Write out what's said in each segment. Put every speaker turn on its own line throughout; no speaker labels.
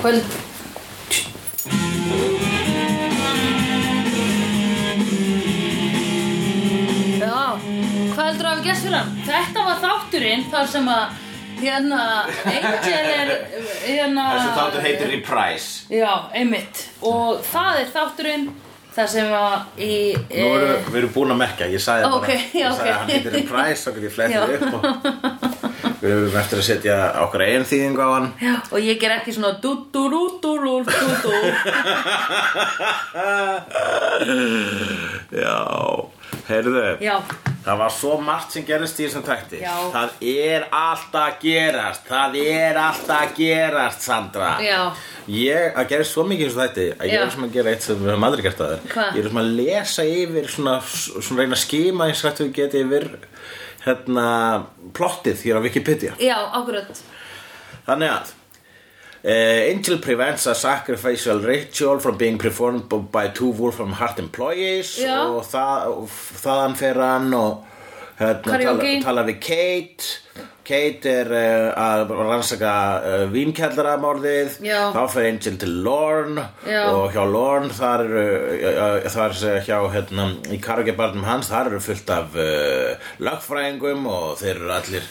Kvöld Já, hvað heldur að hafa gæst fyrir hann? Þetta var þátturinn þar sem að hérna, Angel er hérna
Þessi þáttur heitir Reprise
Já, einmitt og það er þátturinn þar sem að í eh,
Nú erum við erum búin að merkja, ég sagði
Ó, ok, já,
Ég sagði
ok.
að hann heitir Reprise, þá get ég
Já.
flettið upp og Við erum eftir að setja okkar eigin þýðingu á hann
Já, og ég ger ekki svona dú-dú-rú-dú-rú-dú-dú
Já, heyrðu
Já,
Það var svo margt sem gerist í þessum takti
Já.
Það er allt að gerast Það er allt að gerast, Sandra
Já.
Ég, það gerist svo mikið eins og þetta að ég
Já.
er sem að gera eitt sem við höfum aldrei gert að
Hvað?
þér Ég er sem að lesa yfir svona, svona reyna að skima eins og þetta við geti yfir hérna, plottið hér á Wikipedia
já, akkurat
Þannig að Uh, Angel prevents a sacrificial ritual from being performed b- by two Wolfram Heart employees
Já.
og, það, og f- þaðan fer hann og hérna, tala,
Karaoke.
tala við Kate Kate er uh, að rannsaka uh, vínkjallaramorðið
Já.
þá fer Angel til Lorne
Já.
og hjá Lorne þar eru uh, uh, þar er hjá hérna, í karaokebarnum hans þar eru fullt af uh, lagfræðingum og þeir eru allir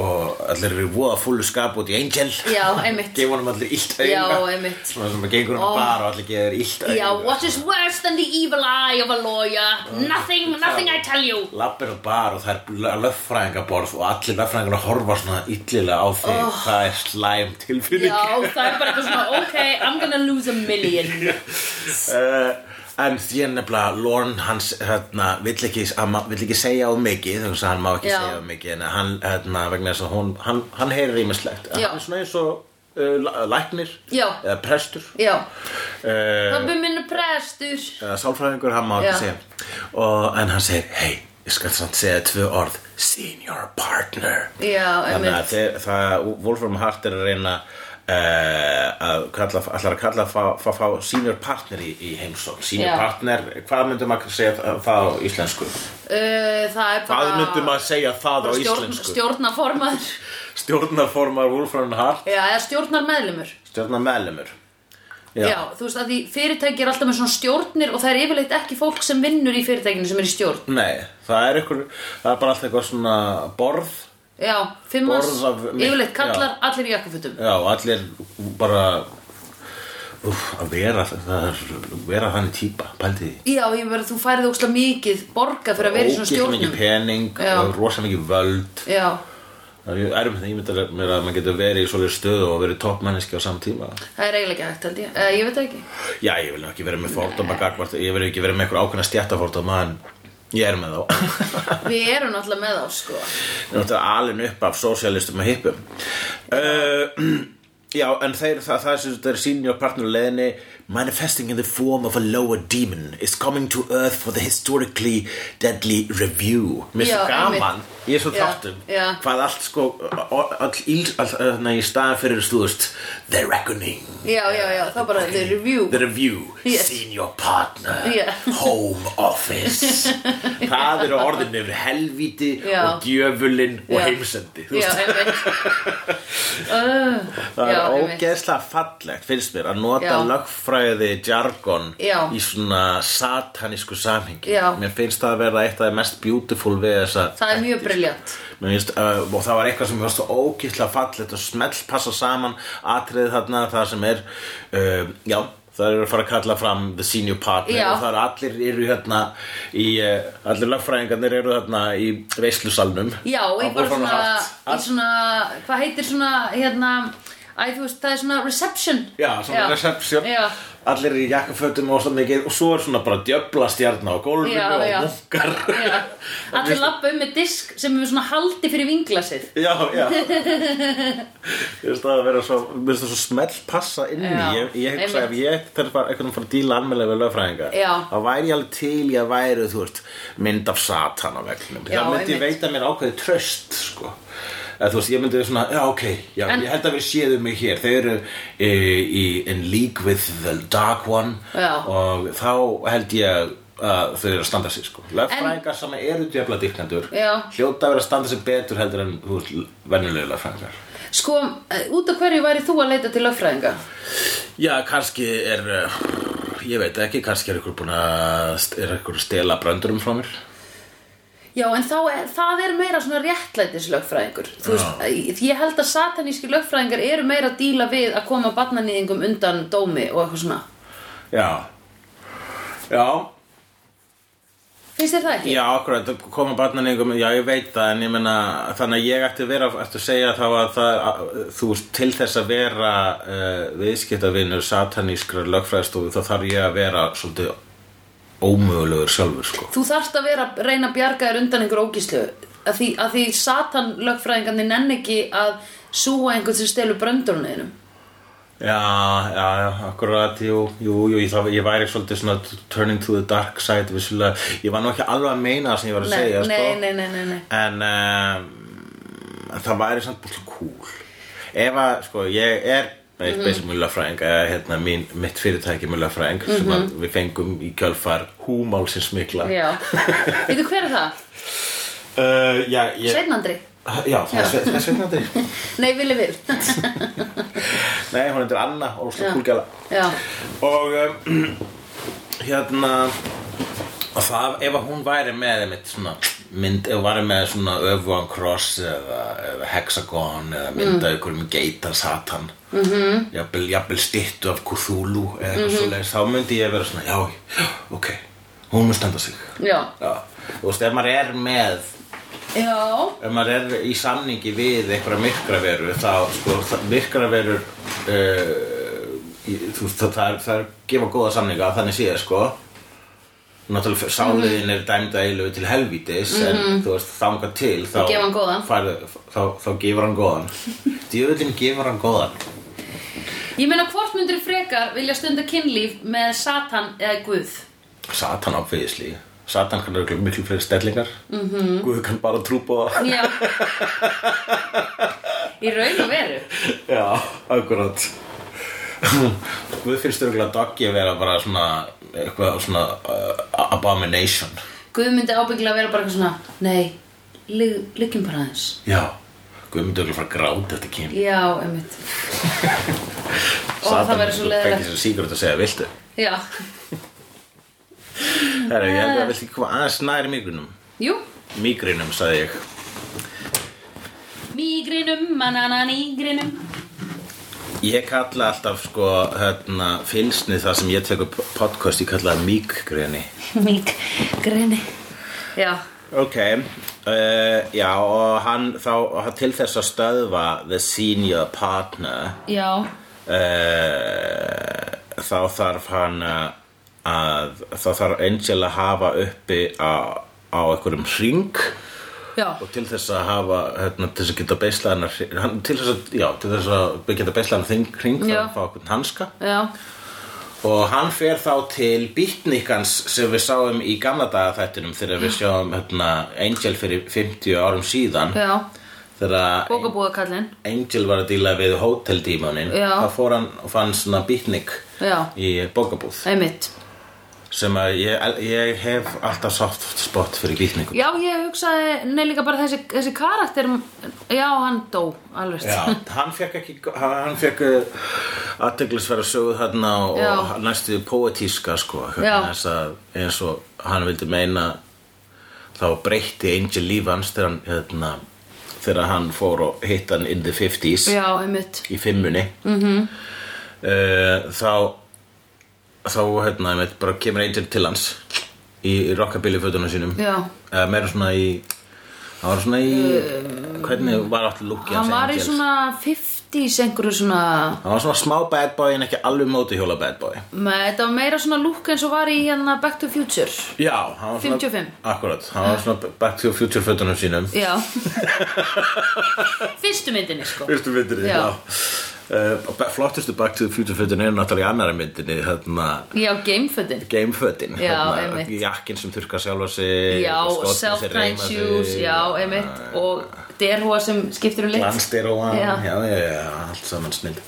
og allir eru voða fullu skap út í Angel
Já, einmitt.
Gefa honum allir illt
Já,
auga
einmitt.
Svona sem að gengur um
Ó.
oh. bar og allir gefur illt auga
Já, what is worse than the evil eye of a lawyer? Nothing, nothing I tell you
Lappir á bar og það er löffræðingaborð og allir löffræðingar að horfa svona illilega á þig Það er slæm tilfinning
Oh. Já, það er bara eitthvað svona, ok, I'm gonna lose a million
uh, En því er nefnilega Lorne, hans, hérna, vill ekki, hann ma- vill ekki segja of mikið Þannig að hann má ekki
Já.
segja of mikið En hann, hérna, vegna þess að hún, hann, hann heyrir ímislegt
Já.
Hann er svona eins og uh, la- læknir
Já.
Eða prestur
Já,
uh,
pabbi minn er prestur
eða sálfræðingur, hann má
Já.
ekki segja og, en hann segir, hei, ég skal samt segja tvö orð, senior partner
Já,
þannig að
einmitt
þeir, það Wolfram Hart er að reyna uh, að kalla, allar að kalla að fá, fá, fá senior partner í, í heimsókn senior
Já.
partner, hvað myndum að segja það- það á íslensku?
Uh, Það er
Hvað
bara
myndum að segja það á
stjórn,
íslensku?
Stjórnaformaður
Stjórnarformar Wolfram Hart
Já, eða stjórnar meðlumur
stjórnar meðlumur
Já. þú veist að því fyrirtæki er alltaf með svona stjórnir og það er yfirleitt ekki fólk sem vinnur í fyrirtækinu sem er í stjórn
Nei, það er ykkur, það er bara alltaf eitthvað svona borð
Já, fimmans,
Borð af-
yfirleitt kallar allir í jakkafutum
Já, og allir bara úf, að vera, það er, vera þannig típa, pældi því.
Já, ég verður þú færið ókslega mikið borga fyrir að vera í svona
Ógeðslega mikið
stjórnum
pening,
Já.
og rosa mikið völd.
Já,
Það er erfitt að ímynda mér að maður getur verið í svolítið stöðu og verið toppmanniski á samtíma.
það er eiginlega ekki hægt held ég eh, Ég veit það ekki
Já, ég vil nú ekki vera með fordóma gagvart, ég vil ekki vera með einhver ákveðna stjættafordóma en ég er með þá.
Við erum náttúrulega með þá sko
Ég er náttúrulega alin upp af sósialistum og hippum uh, Já, en þeir, það, það sem þetta er senior partner leðinni Manifesting in the form of a lower demon is coming to earth for the historically deadly review Mér
Já,
er svo gaman,
einmitt.
ég er svo
Já,
þáttum
já.
Hvað allt sko, all, all, all, all, nei, hérna, í staðan fyrir þú veist The Reckoning
Já, já, já, þá bara the review
The Review,
Yes.
Senior Partner,
Yeah.
Home Office Það eru orðin yfir helvíti
Já.
og djöfulinn og
Já.
heimsendi þú
Já,
veist.
einmitt uh,
Það
já,
er
einmitt.
ógeðslega fallegt, finnst mér, að nota
Já.
lögfræði jargon
Já.
í svona satanísku samhengi
Já.
Mér finnst það að vera eitt af það mest beautiful við þessa
Það er mjög briljant
Mér finnst, uh, og það var eitthvað sem var svo ógíslega fallegt og smelt passa saman atriðið þarna það sem er uh, já, það eru að fara að kalla fram the senior partner
Já.
og það eru allir eru hérna í, uh, allir lögfræðingarnir eru þarna í veislusalnum
Já,
Á
ég bara
Wolfram
svona, í
Hart.
svona Hvað heitir svona, hérna Æ, þú veist, það er svona reception
Já, svona reception
Já,
Allir í jakkafötum og svo mikið Og svo er svona bara djöfla stjarna á gólfinu
Já,
og
já.
munkar
já Allir lappa um með disk sem við svona haldi fyrir vinglasið
Já, já Ég veist það að vera svo Mér finnst það svo smell passa inn í
Já,
Ég, ég
einmitt.
hugsa ef ég þarf bara einhvern veginn að fara að díla anmjölega við lögfræðinga
Já.
Þá væri ég alveg til í að væri, þú veist Mynd af satan á vegnum
Já,
Það myndi ég
einmitt.
veita mér ákveði tröst, sko Eða, þú veist, ég myndi svona, já, ok, já,
En-
ég held að við séðum mig hér, þau eru e, í, in league with the dark one
Já.
og þá held ég að þau eru að standa sér sko lögfræðingar sem eru djöfla dýrkendur
Já.
hljóta að vera að standa sér betur heldur en þú veist, venjulega lögfræðingar
Sko, eh, út af hverju væri þú að leita til lögfræðinga?
Já, kannski er uh, Ég veit ekki, kannski er ykkur búin að st- Er ykkur að stela brandurum frá mér
Já, en þá, er- það er meira svona réttlætislögfræðingur Þú veist, ég- ég held að sataníski lögfræðingar eru meira að díla við að koma barnanýðingum undan dómi og eitthvað svona
Já Já,
Finnst þér það ekki?
já, akkurat, koma barnaningum, já ég veit það en ég menna, þannig að ég ætti að vera ætti að segja þá að það að, þú veist, til þess að vera uh, viðskiptavinur satanískrar lögfræðstofu þá þarf ég að vera svolítið ómögulegur sjálfur sko.
Þú þarft að vera að reyna að bjarga þér undan einhver ógíslu að því, að því satan lögfræðingarnir nenn ekki að súa einhvern sem stelur bröndurnuðinum
Já, já, já, akkurat, jú, jú, jú, ég, það, ég væri svolítið svona t- turning to the dark side, vissulega, ég var nú ekki alveg að meina það sem ég var að
nei,
segja,
nei,
sko,
nei, nei, nei, nei
en um, það væri samt búin cool. Ef að, sko, ég er eitt
Mhm.
mm -hmm. beisil mjölafræðing, eða hérna mín, mitt fyrirtæki mjölafræðing,
Mhm.
sem að við fengum í kjölfar húmálsins mikla.
Já, veitu hver er það?
Uh, já, ég,
Sveinn Andri?
já, það er
Já.
Sveinn- það er sveitnandi.
Nei, Vili Vil
nei, hún heitir Anna, óslega
Já.
kúlgjala.
Já,
og um, hérna og það, ef að hún væri með einmitt svona mynd, ef hún væri með svona öfugan kross eða, eða hexagon eða mynda mm. ykkur um geita satan mm -hmm. jafnvel, jafnvel stittu af Cthulhu eða mm svoleiðis, þá myndi ég vera svona já, já, ok, hún mun standa sig
já,
já, þú veist, ef maður er með
já
ef maður er í samningi við einhverja myrkraveru þá sko, það- myrkraverur uh, í, þú, veist, það, það, er, það er gefa góða samninga þannig séð sko náttúrulega f- sáliðin er dæmd að eilu til helvítis en þú veist þangað til þá,
Mhm. Gefa hann góðan.
færðu, þá, þá gefur hann góðan djöfullin gefur hann góðan
Ég meina hvort myndir frekar vilja stunda kynlíf með Satan eða Guð?
Satan áfæðisli Satan kannar örugglega miklu fleiri stellingar mm
Mhm.
-hmm. Guð kann bara trúpa það
Já Í raun og veru
Já, akkurat Guð finnst örgulega Doggy að vera bara svona eitthvað svona uh, abomination
Guð myndi ábyggilega vera bara eitthvað svona Nei, ligg- liggjum bara aðeins
Já Guð myndi örgulega fara að gráta þetta kyn
Já, einmitt það væri svo leiðilegt.
Fengi sér sígur að segja, viltu?
Já,
Herra, ég held að viltu ekki koma aðeins nær migrinum
jú
Migrinum, sagði ég
Mígrinum, mananan ígrinum
Ég kalla alltaf sko hérna, fylsni það sem ég tek upp podcast ég kalla það migrini
Mígrini Já,
Ok, uh, já og hann þá og til þess að stöðva the senior partner
já
Eh, þá þarf hann eh, að þá þarf Angel að hafa uppi á, á einhverjum hring
Já,
og til þess að hafa hérna, til þess að geta beislað hennar hring- hann- til þess að, já, til þess að geta beislað hennar þing hring þarf
Já.
hann að fá einhvern hanska
já
og hann fer þá til býtnikans sem við sáum í gamla dagaþættinum þegar við sjáum hérna, Angel fyrir 50 árum síðan
Já,
þegar
bókabúðakallinn
Angel var að díla við hóteldímonin
Já.
þá fór hann og fann svona býtnik
Já.
í bókabúð
Einmitt
sem að ég, ég hef alltaf soft spot fyrir býtningum
Já, ég hugsaði, nei líka bara þessi, þessi karakter, já, hann dó, alveg.
Já, hann fekk ekki hann hann fekk aðteglisverða sögu þarna og
Já.
næstu því poetíska sko
Já.
hérna, þess að eins og hann vildi meina þá breytti Angel líf hans þegar hann, hérna, þegar hann fór og hitt hann in the 50s
Já, einmitt.
í fimmunni mm
Mhm.
þá þá hérna einmitt, bara kemur Angel til hans í, í rockabilly fötunum sínum
Já.
eða meira svona í hann var svona í hvernig var allt lúkið
Eh, Hann var í
Angels?
svona 50s einhverju svona,
hann var svona smá bad boy en ekki alveg móti hjóla bad boy
með, þetta var meira svona lúk eins og var í hérna Back to Future.
já, hann var svona
55.
akkurat, hann var svona back to the future fötunum sínum
Ah. Já. Fyrstu myndinni, sko.
Fyrstu myndinni,
Já.
já. Uh, flottustu Back to the Future fötin er náttúrulega í annari myndinni hérna,
Já, gamefötin.
gamefötin
Já, einmitt.
hérna, jakkin sem þurrka sjálfa sig
Já,
skotnir sem
self-trained
reima sig, Ah,
shoes, já, einmitt. Og derhúa sem skiptir um lit.
glansteróan
Já.
já. já, já, allt saman snill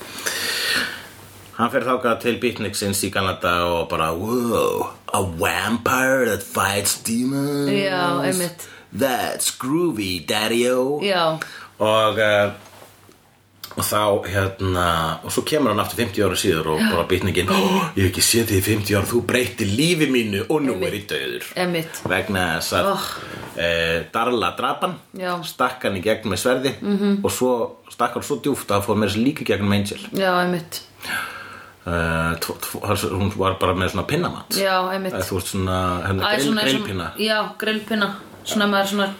hann fyrir þákað til Beatniksins í Kanada og bara wow, a vampire that fights demons
Já, einmitt.
that's groovy daddy-o
Já,
og uh, eh, og þá hérna og svo kemur hann aftur 50 ára síður og bara bitningin, oh, ég hef ekki séð þig í 50 ára þú breytir lífi mínu og nú er ég döður
Einmitt.
vegna þess að oh.
Oh.
Darla drapan
Já. Mhm.
stakk hann í gegn með sverði -hmm. og svo stakk hann svo djúft að hann fór með þess líka í gegn með Angel
já, einmitt
uh, tvo, tvo, hans- hún var bara með svona pinnamat
já, einmitt
Eh, þú veist svona hérna,
Æ,
grill,
svona eins og-
grillpinna
já, grillpinna svona maður svona,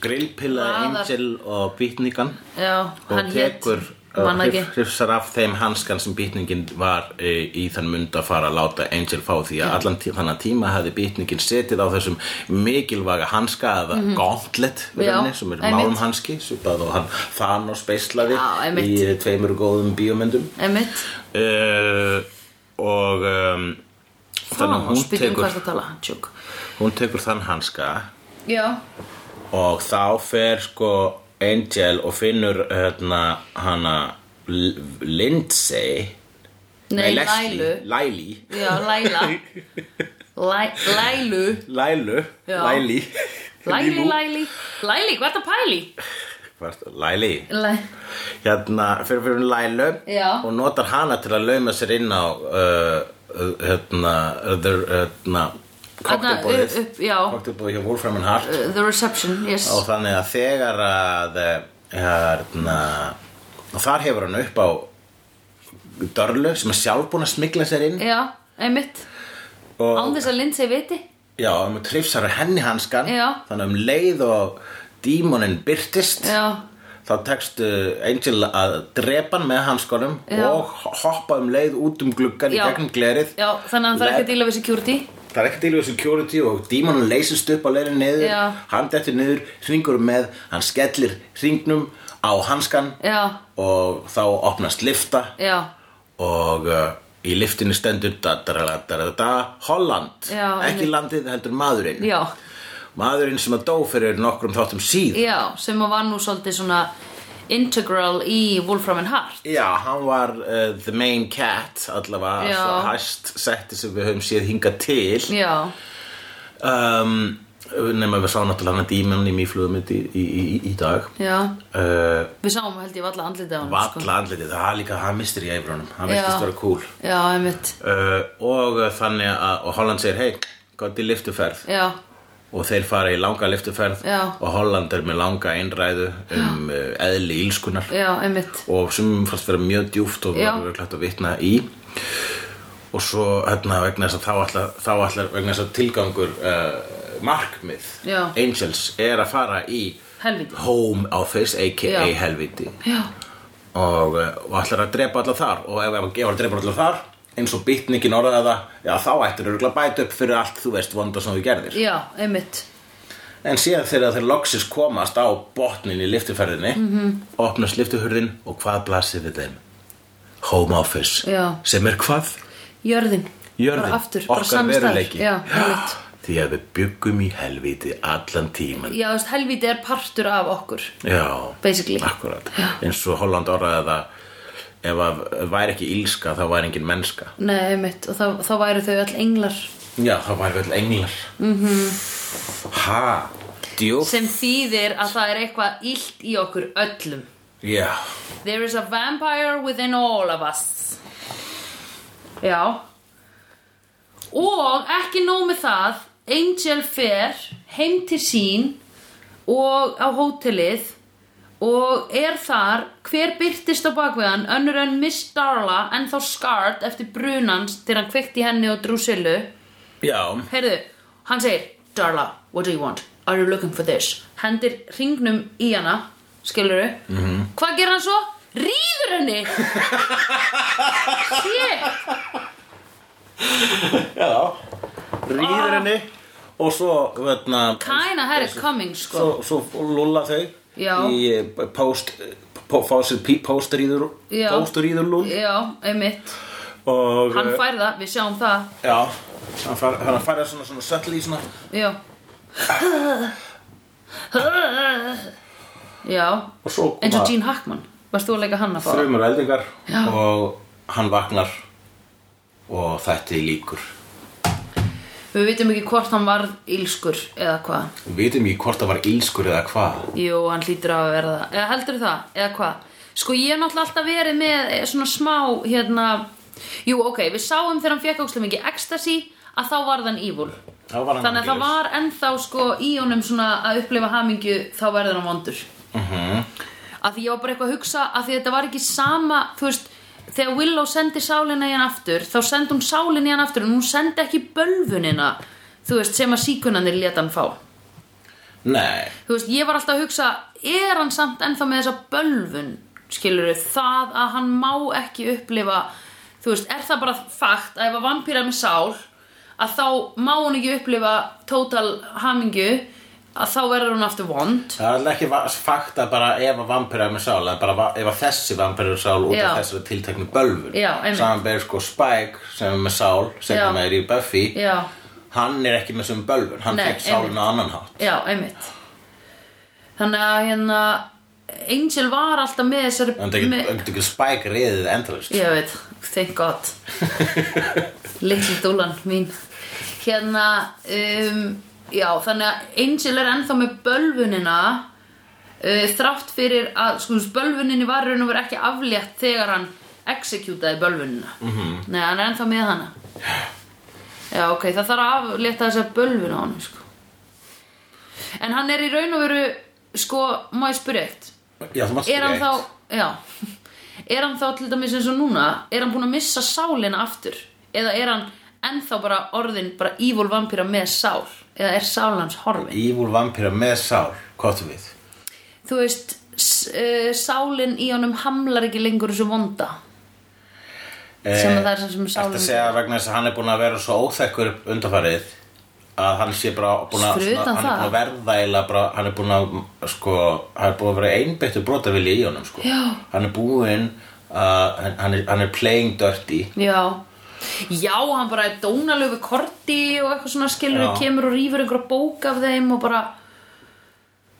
grillpilla
Raðar.
Angel og bitningan
já,
og
hann hét
tekur uh,
mann ekki,
hrifsar af þeim hanskan sem býtningin var e, í þann mund að fara að láta Angel fá því að allan tí, þannig tíma hafði býtningin setið á þessum mikilvaga hanska eða mm -hmm. gauntlet
Mhm. Já,
rauninni, sem er
einmitt.
málum hanski svipað og hann Thanos beislaði
Já, einmitt.
í eh, tveimur góðum bíómyndum
einmitt Eh,
e, og um, þannig að
Thanos,
hún
býtum hvað
tekur,
það um tala, tjók
hún tekur þann hanska
já,
og þá fer sko Angel og finnur hérna hana L- Lindsay
nei,
Leslie,
Lælu
Læli
já, Læla Læ, Lælu,
Lælu
Já.
Læli
Læli, Læli Læli, hvað er það pæli?
Læli Læli
Læ,
hérna fyrir fyrir hún Lælu
Já.
og notar hana til að lauma sér inn á uh, uh, hérna öður hérna
Þarna,
cocktailbóðið
upp- upp, já.
cocktailbóðið hjá Wolfram and Hart
uh, The Reception, yes
og þannig að þegar að hérna, þar hefur hann upp á Dörlu sem er sjálf búin að smigla sér inn
já, einmitt
og
án þess að Lindsay viti
já, um trifsar á henni hanskan
Já.
þannig að um leið og dímonin byrtist
já,
þá tekstu Angel að drepa hann með hanskanum
Já.
og hoppa um leið út um gluggan í
Já.
gegnum glerið
já, þannig að hann þarf ekki
Let-
að díla við security
Það er ekkert til við security og dímanum leysist upp á leiðin niður,
Já.
hann dettur niður, hringur með, hann skellir hringnum á hanskan
já,
og þá opnast lifta
já,
og uh, í liftinu stendur da, da, da, da, da, da, Holland
Já,
ekki
einmitt.
landið heldur maðurinn
já
maðurinn sem að dó fyrir nokkrum þáttum síð
já, sem að var nú svolítið svona integral í Wolfram and Hart
já, hann var uh, the main cat allavega
Já.
svo hæst setti sem við höfum séð hingað til
já,
um, nema við sá náttúrulega hann dímann í mýflugum í, í, í, í dag
já
uh,
við sáum held ég valla andlitið á sko. hann
valla andlitið, það er líka hann mistir í eifrunum hann
Já.
veitist vera cool
já, einmitt,
uh, og uh, þannig að og Holland segir, hei, gott í liftuferð
já,
og þeir fara í langa liftuferð
Já.
og Holland er með langa einræðu um uh, eðli ílskunar
já, einmitt
og sem fannst vera mjög djúft og
Já.
verður klætt að vitna í og svo hérna vegna þess að þá ætlar, þá ætlar vegna þess að tilgangur uh, markmið
Já.
Angels er að fara í
helviti,
home office aka
Já.
helviti
já,
og, eh, og ætlar að drepa allar þar og ef ef hann drepa allar þar eins og bitningin orðaði það já þá ættir að bæta upp fyrir allt þú veist vonda sem þú gerðir
já, einmitt
en síðan þegar þeir loksist komast á botnin í liftuferðinni -hmm. opnast liftuhurðin og hvað blasir við þeim home office
Já.
sem er hvað?
jörðin,
Jörðin,
bara aftur, bara
okkar
sami staður.
veruleiki
já, einmitt
því að við byggum í helviti allan tíman
já, þú veist, helviti er partur af okkur
Já,
Basically.
akkurat eins og Holland orðaði það ef að væri ekki ílska þá væri engin mennska
Nei, einmitt, og þá, þá væru þau öll englar
Já, það væri vel englar mm -hmm. Ha, djúf
sem þýðir að það er eitthvað illt í okkur öllum
Já,
There is a vampire within all of us Já Og ekki nóg með það Angel fer heim til sín og á hótelið og er þar hver byrtist á bakveðan önnur en Miss Darla en þá Skart eftir brunans þegar hann kveikti í henni og drúsilu
já
Heyrðu, hann segir Darla, what do you want? Are you looking for this? Hendir ringnum í hana Skilurðu? -hmm. Hvað gerir hann svo? Rýður henni Shit
Já, rýður henni og svo, hérna- veitna
Kinda had it coming sko
svo, svo lulla þau
Já.
í eh, post po- fá sér pí- póstrýður
Já.
póstrýður lúll
Já, einmitt
og
Hann
eh,
fær það, við sjáum það
já, hann fær, hann fær svona, svona sötli í svona
Já Já
og svo
Eins og
koma
Gene Hackman Varst þú að leika hann að fara?
þrjumur eldingar
Já.
og hann vaknar og þetta er líkur
Við vitum ekki hvort hann varð ílskur eða hvað
við veitum ekki hvort það var ílskur eða hvað
Jú, hann hlýtur á að verða það. Eða heldur það, eða hvað? Sko ég hef náttúrulega alltaf verið með eh, svona smá hérna Jú ok, við sáum þegar hann fekk ákslega mikið ecstasy að þá varð hann evil
Þá var hann
Þannig að það
vonlaus.
var ennþá sko í honum svona að upplifa hamingju þá verður hann vondur mm Að því ég var bara eitthvað að hugsa að því þetta var ekki sama þú veist Þegar Willow sendi sálinna í hann aftur þá sendi hún sálinna í hann aftur en hún sendi ekki bölvunina þú veist sem að síkunanir leta hann fá
Nei,
þú veist, ég var alltaf að hugsa er hann samt ennþá með þessa bölvun skilur það að hann má ekki upplifa þú veist, er það bara fakt að ef að vampýra með sál að þá má hún ekki upplifa total hamingju að þá verður hún aftur vond
það er alltaf ekki va- fakt að bara ef að vampirja með sál eða bara va- ef að þessi vampirja með sál út
Já.
af þessari tilteknu bölvun
Já, einmitt.
Samanber sko Spike sem er með sál sem
Já.
er með í Buffy
já,
Hann er ekki með sem bölvun, hann
Nei,
fekk sálinu
einmitt.
á annan hátt
já, einmitt þannig að hérna Angel var alltaf með þessari
En það
með-
getur ekki Spike reyðið endalist
Ég veit, thank god Little dúlan mín Hérna um, Já, þannig að Angel er ennþá með bölvunina uh, Þrátt fyrir að sko, Bölvuninni var raun og verið ekki aflétt Þegar hann executaði bölvunina -hmm. Nei, hann er ennþá með hana Já, ok, það þarf að aflétta þessa bölvun á hann sko. En hann er í raun og veru Sko, má ég spyrja eitt
Já, þú mátt
er hann
spyrja eitt.
þá já, er hann þá til dæmis eins og núna er hann búinn að missa sálina aftur eða er hann ennþá bara orðin bara evil vampíra með sál eða er sál hans horfin
Evil vampira með sál, hvað þú við?
þú veist, s- eh, sálin í honum hamlar ekki lengur þessu vonda Sem að það er sem- sem sálin-
Þetta Eh, segja vegna þess að hann er búin að vera svo óþekkur undarfærið að hann sé bara búin að,
Fyrir utan
hann er búin að verða eiginlega bara, hann er búin að sko, hann er búin að vera einbyttu brotavili í honum sko.
Já.
hann er búin að hann- hann er, hann er playing dirty
já já, hann bara er dónalegu við korti og eitthvað svona skilur
Já.
kemur og rýfur einhverja bók af þeim og bara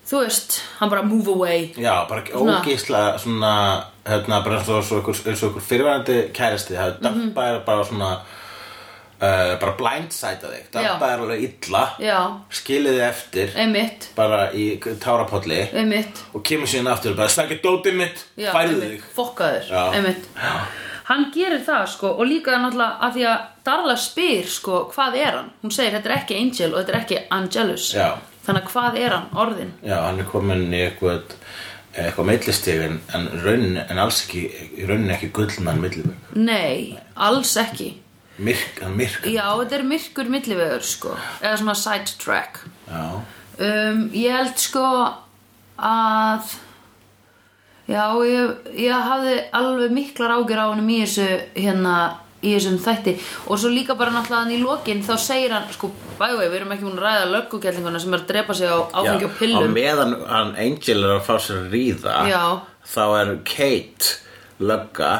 þú veist, hann bara move away
Já, bara
Svona-
ógísla svona, hérna, bara eins og, svo ykkur, eins og ykkur fyrirværandi kæristi það er
Mhm.
dampað er bara svona uh, bara blindsæta þig dampað er alveg illa
já,
skilið þig eftir
einmitt
bara í tárapolli
einmitt
og kemur síðan aftur og bara snakki dótið mitt,
Já,
færðu
einmitt,
þig
fokkaður,
Já.
einmitt hann gerir það sko og líka er náttúrulega að því að Darla spyr sko hvað er hann hún segir þetta er ekki Angel og þetta er ekki Angelus
Já.
þannig að hvað er hann orðin
Já, hann er komin í eitthvað eitthvað meillistig en, en raunin en alls ekki, í raunin ekki gullmann milliveg,
nei, alls ekki
myrk, hann myrk
já, þetta er myrkur millivegur sko eða svona sidetrack
Já,
um, ég held sko að já, ég, ég hafði alveg miklar ágjur á honum í þessu hérna í þessum þætti og svo líka bara náttúrulega hann í lokin þá segir hann, sko, bæði við erum ekki múin að ræða löggugellinguna sem er að drepa sig á áfengi og
á
pillum
meðan hann Angel er að fá sér að ríða
Já.
þá er Kate lögga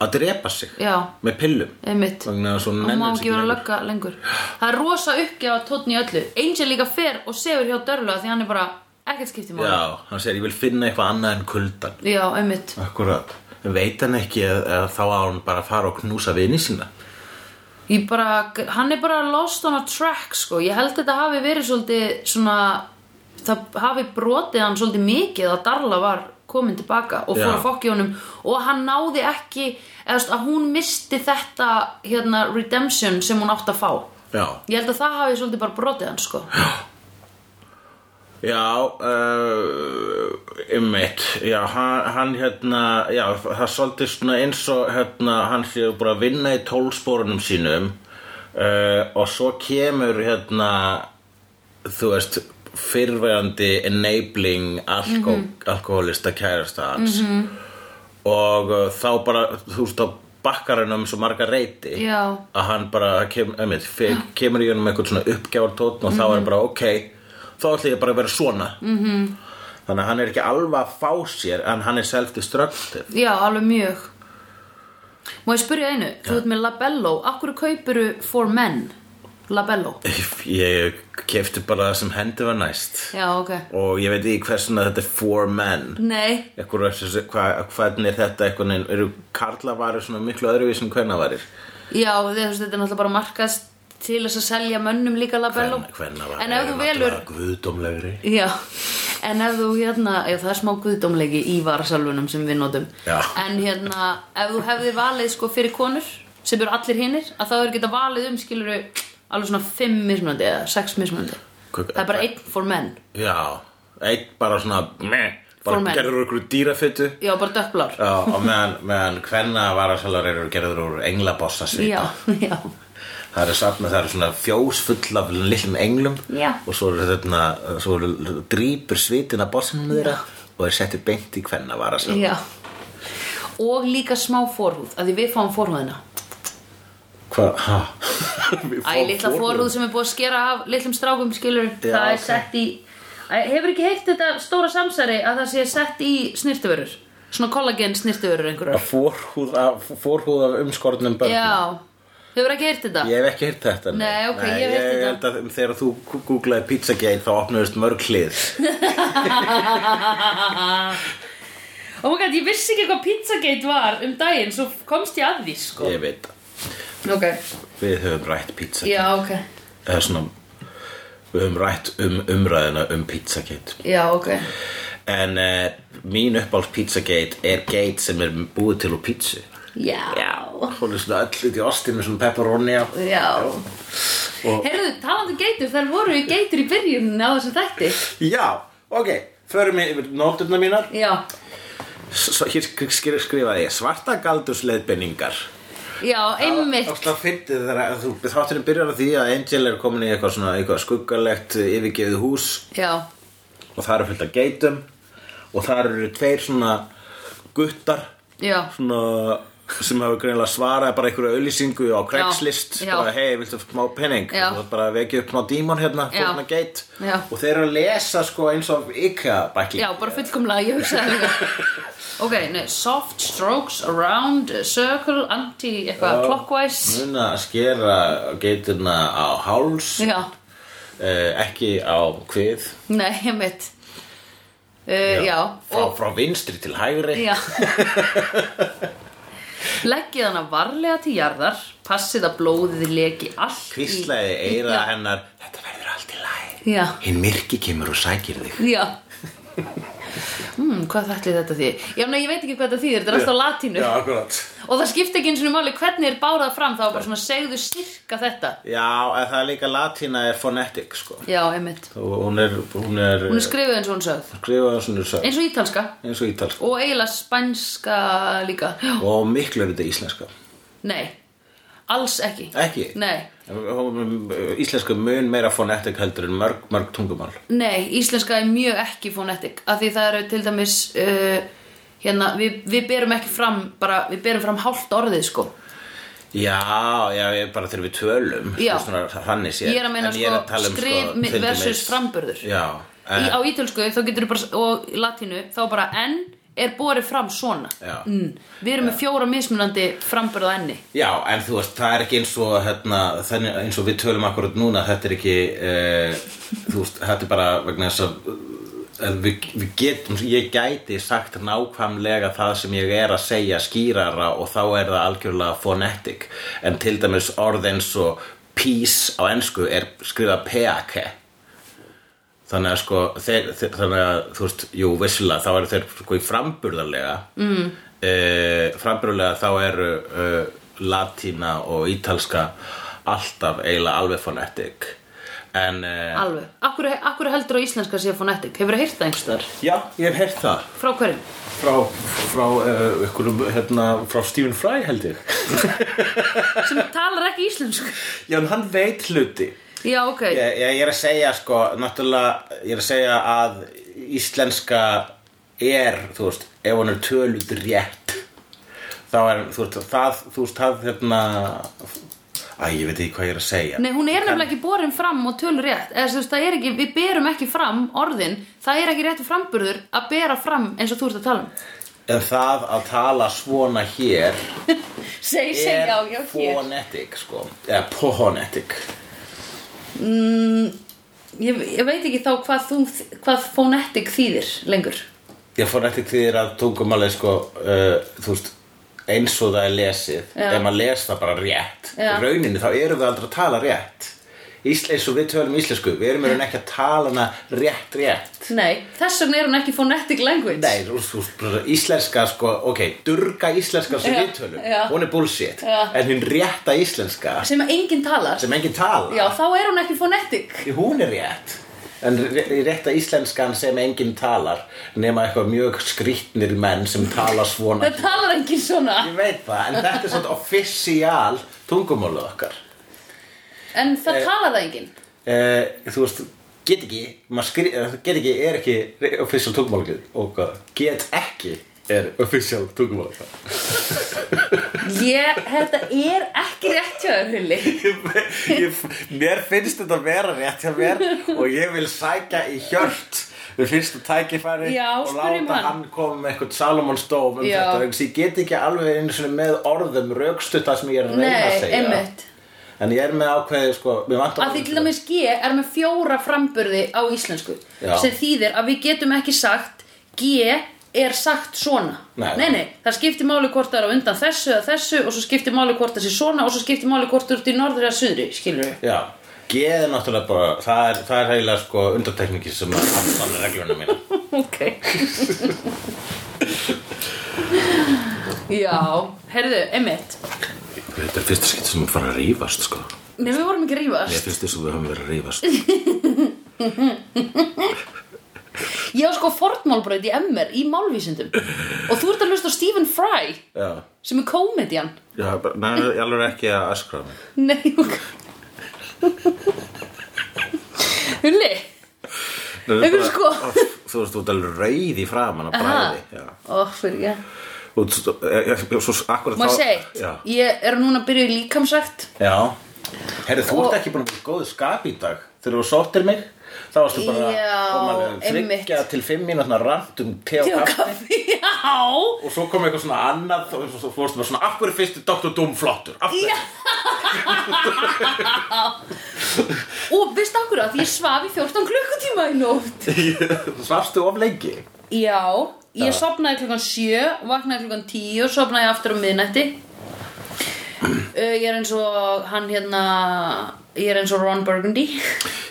að drepa sig
já,
með pillum
einmitt
vegna þess að hún
hún má
nennir sig
ekki vera
lengur.
lögga lengur það er rosa uppgjáð tónn í öllu Angel líka fer og sefur hjá Dörla því hann er bara ekkert skipti máli
Já, hann segir ég vil finna eitthvað annað en kuldan
já einmitt
Akkurat, veit hann ekki að, að þá á hann bara að fara og knúsa vini sína
Ég bara, hann er bara lost on a track sko, ég held þetta hafi verið svolítið svona, það hafi brotið hann svolítið mikið að Darla var komin tilbaka og fór
Já.
að fokki honum og hann náði ekki, eða þú veist, að hún misti þetta hérna redemption sem hún átti að fá.
Já,
Ég held að það hafi svolítið bara brotið hann sko.
Já, uh, einmitt, já, hann, hann hérna, já, það er svolítið svona eins og hérna, hann séu bara að vinna í tólsporunum sínum uh, og svo kemur hérna, þú veist, fyrrverandi enabling alko
Mhm.
alkoholista kærasta hans og uh, þá bara, þú veist, þá bakkar hann um svo marga reyti
Já. Ah.
að hann bara kem, einmitt, fe, kemur í hann með eitthvað svona uppgjáðartótt og
Mhm.
þá er bara ok þá ætla ég bara að vera svona -hmm.
Mhm.
þannig að hann er ekki alveg að fá sér en hann er self-destructive
Já, alveg mjög. Má ég spyrja einu, þú veit með Labello, akkur kaupuru for men, Labello?
Eh. ég kefti bara það sem hendi var næst
Já, ok.
og ég veit ekki hversuna þetta er for men
Nei,
Ekkur, hva, hvernig er þetta einhvern veginn eru karlavarir svona miklu öðruvísum hvernig varir
Já, þið, þú veist, þetta er náttúrulega bara markast til þess að selja mönnum líka labello
Hvenna var
en ef þú velur
Guðdómlegri
já, en ef þú hérna já, það er smá guðdómleiki í varasalvunum sem við notum
Já.
en hérna, ef þú hefðir valið sko fyrir konur sem eru allir hinnir, að þá er geta valið um skiluru alveg svona 5 mismunandi eða 6 mismunandi
Hvað-
það er bara einn for men
Já, einn bara svona meh,
For
bara
men.
gerður úr ykkur dýrafytu
já, bara dökblár
Já, og meðan, meðan hvenna varasalar eru gerður úr englabossa
já,
svita
já,
Það eru samt með það eru svona fjós full af lillum englum
Já.
og svo eru þetta svo eru drýpur svitin af bossinum þeirra og er settur beint í hvenna varasalar
já og líka smá forhúð, að því við fáum forhúðina
Hvað, ha? Við
Æ,
fáum
litla forhúð sem er búið að skera af litlum strákum skilur,
Já,
það er
ok.
sett í Æ, Hefur ekki heilt þetta stóra samsæri að það sé sett í snirtivörur Svona kollagen snirtivörur einhverjar
Forhúð af, forhúð af umskornum börnum
Já, hefur ekki heilt þetta
Ég hef ekki heyrt þetta
Nei, ok, ég hef heyrt
Ég
þetta.
held að þegar þú googlaði pizzagate þá opnaðist mörg hlið
Oh my god, ég vissi ekki hvað Pizzagate var um daginn Svo komst ég að því sko
Ég veit það
Ok,
Við höfum rætt pizza
já, ok
Eða svona Við höfum rætt um umræðina um pizzagate
Já, ok
En uh, mín uppáls pizzagate er gate sem er búið til úr pizzu
Já,
Hún er svona öll út í ostin með svona pepperoni á
já.
Og-
Heyrðu, talandi um geitur, þær voru í geitur í byrjunin á þessu þætti
Já, ok Förum við yfir nótturnar mínar
Já,
S s- Hér sk- sk- skrifaði ég Svarta galdursleiðbenningar
já, einmitt
Ósla fyndið þegar að þú þátturinn byrjar á því að Angel er komin í eitthvað svona eitthvað skuggalegt eh, yfirgefið hús
Já,
og það eru fullt af geitum og það eru tveir svona guttar
já,
svona sem hafa greinilega svarað bara einhverju auðlýsingu á Craigslist
Já.
bara hei, viltu smá penning
Já.
og það bara vekið upp smá dímon hérna
Já.
fórna geit
Já.
og þeir eru að lesa sko eins og IKEA bakki
já, bara fullkomlega, ég hugsaði það Ok, nei, soft strokes around a circle, anti, eitthvað, clockwise
mun að skera geiturna á háls
Já,
eh, ekki á kvið
nei, ég mitt uh, Já,
frá,
og,
frá vinstri til hægri
já Leggið hana varlega til jarðar Passið að blóðið leki allt í-
hvíslaði eira
Já.
hennar þetta verður allt í læg
Já,
hinn myrki kemur og sækir þig
já Hmm, hvað ætli þetta því? Já, nei, ég veit ekki hvað þetta þýðir, þetta er alltaf á latínu
akkurat
Og það skipti ekki eins og máli hvernig er bárað fram þá bara svona segðu styrka þetta
já, en það er líka latína er fonetic sko.
Já, einmitt
og hún er, hún er,
Hún er skrifuð eins og hún sögð
skrifað svona svo,
Eins og ítalska
eins og ítalsk
Og eiginlega spænska líka Já.
og miklu er þetta íslenska
Nei, alls ekki
ekki
Nei,
Íslenska mun meira fonetic heldur en mörg, mörg tungumál
nei, íslenska er mjög ekki fonetik Af því það eru til dæmis uh, Hérna, við, við berum ekki fram bara, Við berum fram hálft orðið sko
Já, já, ég bara þegar við tölum
Já.
svona, Þannig séð
Ég er að meina
En
sko,
ég er að tala um,
skrif
til dæmis- Eh.
versus framburður
Já,
Í, á ítölsku þá getur þú bara og í latínu þá bara enn er borið fram svona
Já.
mm, við erum með fjóra mismunandi framburð á enni
Já, en þú veist, það er ekki eins og hérna, þannig, eins og við tölum akkurat núna þetta er ekki uh, þú veist, þetta er bara vegna þess að eh, við, við getum, ég gæti sagt nákvæmlega það sem ég er að segja skýrara og þá er það algjörlega fonetic, en til dæmis orð eins og peace á ensku er skrifa peake þannig að sko þeir, þeir, þannig að þú veist, jú, vissilega þá eru þeir sko í framburðarlega mm. e, framburðarlega þá eru e, latína og ítalska alltaf eiginlega alveg fonetik en e,
alveg, akkur, akkur heldur á íslenska sé fonetik, hefur þú heyrt það einhvers þar
já, ég hef heyrt það
frá hverjum?
frá, frá, uh, ykkur, hérna, frá Stephen Fry held ég
sem talar ekki íslensku
já, en hann veit hluti
já ok,
ég, ég, ég er að segja sko náttúrulega, ég er að segja að íslenska er, þú veist, ef hún er töluð rétt þá er, þú veist, það, þú veist, það hérna Æ, ég veit ekki hvað ég er að segja
nei hún er nefnilega ekki borin fram og tölur rétt eða þú veist það er ekki, við berum ekki fram orðin, það er ekki réttu framburður að bera fram eins og þú ert að tala um
En það að tala svona hér
seg, seg,
er
já, já, hér
phonetic, sko eða pohonetic
ég, ég veit ekki þá hvað, þú, hvað fonetik þýðir lengur
Já, fonetic þýðir að tungumálið, sko, uh, þú veist eins og það er lesið
Já.
ef maður les það bara rétt
Já.
í rauninni þá eru þau aldrei að tala rétt Ísle, eins og við tölum íslensku við erum í rauninni ekki að tala hana rétt rétt
Nei, þess vegna er hún ekki phonetic language
Nei, þú- þú- þú- íslenska sko, ok, durga íslenska sem
Já,
við tölum,
já.
hún er bullshit
Já.
en hún rétta íslenska
sem að enginn talar
sem enginn tala
Já, þá er hún ekki phonetic
Því hún er rétt En ré- rétta íslenskan sem enginn talar nema eitthvað mjög skrýtnir menn sem tala svona
Það talar enginn svona
Ég veit það, en þetta er svona offisíal tungumálið okkar
En
Eh.
það talar það enginn
uh, Þú veist, get ekki maður skri, eh, get ekki er ekki offisíal tungumálið okkar get ekki er offisíal tungumálið okkar
Ég, þetta er ekki rétt hjá þér, Hulli
ég, mér finnst þetta vera rétt hjá mér og ég vil sækja í hjört við finnst þetta tækifæri
Já,
og
spyrjum
láta
hann.
hann koma með eitthvað Salomons dóm um
Já.
þetta vegna þess að ég get ekki alveg einu sinni með orðum raukstutt það sem ég er að reyna að
Nei,
segja
einmitt
en ég er með ákveðið sko mér vantar
Að því til
orðin.
dæmis G er með fjóra framburði á íslensku
Já.
sem þýðir að við getum ekki sagt G er sagt svona
Nei.
nei, það skiptir máli hvort það er á undan þessu eða þessu og svo skiptir máli hvort það sé svona og svo skiptir máli hvort þú ert í norður eða suðri skilur við
Já, G er náttúrulega bara það er, það er heila sko undartekningi sem að samtala regluna mína
Ok Já, herðu, emitt
Þetta er fyrsta skipt sem við fara að rífast sko
Nei, við vorum ekki að rífast
fyrst þess að við höfum verið að rífast
Ég á sko fornmálbraut í MR í málvísindum og þú ert að hlusta á Stephen Fry
Já,
sem er komedian
já bara, nei, ég alveg ekki að öskra á mig
Nei, ok Hulli
Nei,
Einhver
bara-
sko.
Ó, Þú veist, þú ert alveg reyð í framan á bræði já.
Ó, fyrir ég
Og þú- ég- ég- ég- svo akkurat
Má ég
þá-
segja eitt?
Já,
Ég er núna að byrja í líkamsrækt
já. Herri, þú
Og-
ert ekki búin að vera í góðu skap í dag Þegar þú sóttir mig Þá varstu bara
Já,
komin
einmitt.
þryggja til fimm mínútna rant um te og
Tjó
kaffi
kaffi, já
Og svo kom eitthvað svona annað Og svo fórstu bara svona, af hverju fyrstu Dr. Doom flottur? Af hverju?
Já Og veist akkur að því ég svaf í 14 klukkutíma í nótt
Þú svafstu of lengi
Já, ég sopnaði klukkan 7 vaknaði klukkan 10 og sopnaði aftur á miðnætti uh, Ég er eins og hann hérna ég er eins og Ron Burgundy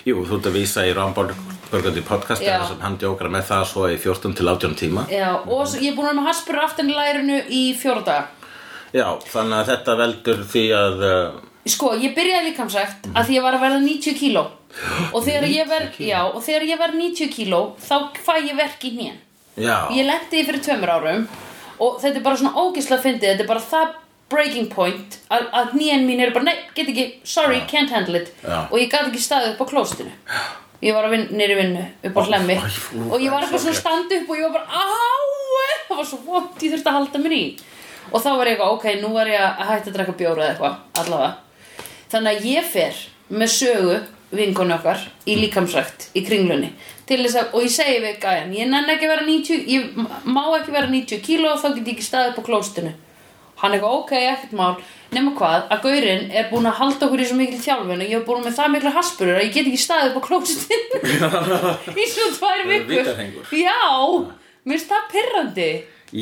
Jú, þú ert að vísa í Ramborg Burgundy podcast
Já.
þar sem hann djókar með það svo í 14 til 18 tíma
Já, og svo, ég er búin að vera með haspur aftan í lærinu í fjóra daga.
Já, þannig að þetta veldur því að uh,
Sko, ég byrjaði líkamsrækt mm. að því ég var að verða 90 kíló. Og þegar ég verð, já, og þegar ég verð 90 kíló, þá fæ ég verk í hnén.
Já,
Ég lendi því fyrir tveimur árum og þetta er bara svona ógislega fyndið, þetta er bara það breaking point að, að hnén mín er bara, nei, get ekki, sorry, can't handle it.
Já.
Og ég gat ekki staðið upp á klóstinu. Ég var að vin, nýri vinnu, upp á hlemmi
æ, fú,
og ég var eitthvað svona
sorry.
standa upp og ég var bara, áu, það var svo vont, ég þurfti að halda mér í. Og þá var ég eitthvað, ok, nú var ég að hætta að drekka bjóra eða eitthvað, allavega. Þannig að ég fer með sögu vinkonu okkar í líkamsrækt í kringlunni til þess að, og ég segi við gæjan ég nenn ekki að vera 90, ég má ekki vera 90 kíló þá get ég ekki staðið upp á klóstinu hann eitthvað ok, ekkert mál nema hvað, að gaurinn er búin að halda okkur í svo mikil þjálfun og ég er búin með það mikla haspurur að ég get ekki staðið upp á klóstinu í svo tvær
Það er vítahringur.
vikur já, mér finnst það pirrandi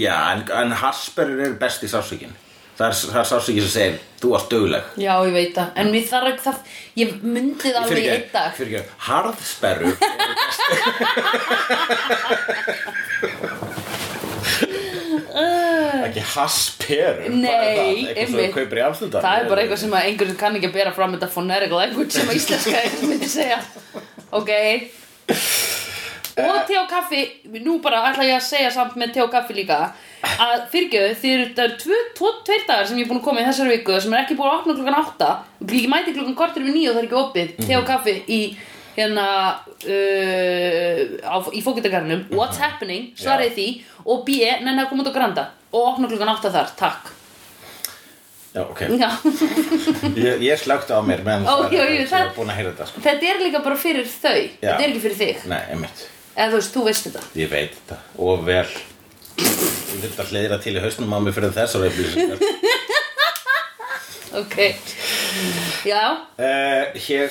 já en, en Hasperur er best í sásvíkin Það er, það er sásvíkin sem segir, þú varst döguleg
já, ég veit það, en mér þarf ekki það ég myndi það alveg í einn dag
fyrir ekki, harðsperur Ekki hasperur hvað er það?
Nei,
Eitthvað sem
einmitt.
þú kaupir í Amsterdam
Það er bara eitthvað sem að einhver sem kann ekki að bera fram þetta phonetic language sem að íslenska ekki myndi segja Ok Og te og kaffi, nú bara ætla ég að segja samt með te og kaffi líka að fyrirgjöðu, þið eru það eru tvö, tvo, tveir dagar sem ég er búin að koma í þessari viku sem er ekki búin að opna klukkan átta ég mæti klukkan kortir við nýju og það er ekki opið te og kaffi í hérna uh, á, í fókutagarnum What's happening, svaraði því og B, nenni að koma út á granda og opna klukkan átta þar, takk
Já, ok
Já
Ég, ég slögt á mér meðan
Ó,
það er-
jú, jú,
ég
það-
var búin að heyra þetta sko.
Þetta er líka bara fyrir þau
Já.
Þetta er ekki fyrir þig
Nei, einmitt,
Eða þú veist, þú veist þetta
ég veit þetta Og vel Ég þurfti að hleyðra til í hausnum á mig fyrir þessar upplýsingar
Ok Já,
Uh, hér,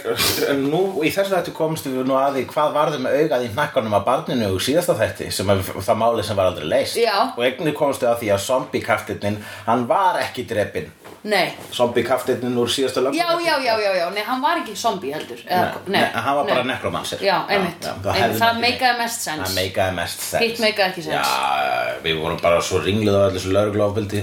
nú, í þessu þættu komst við nú að því hvað varði með augað í hnakkanum að barninu og síðasta þætti sem að, það máli sem var aldrei leist
Já.
og einnig komst við að því að zombiekaftinnin hann var ekki drepin
nei
zombiekaftinnin úr síðasta lögum
Já, já, já, já, já, nei, hann var ekki zombi heldur
Nei, nei, hann var bara nekromansir
Já, einmitt. Einmitt, það meikaði mest sens.
Það meikaði mest sens
Hitt meikaði ekki sens.
Já, við vorum bara svo ringluð á allir þessu lögreglofbildi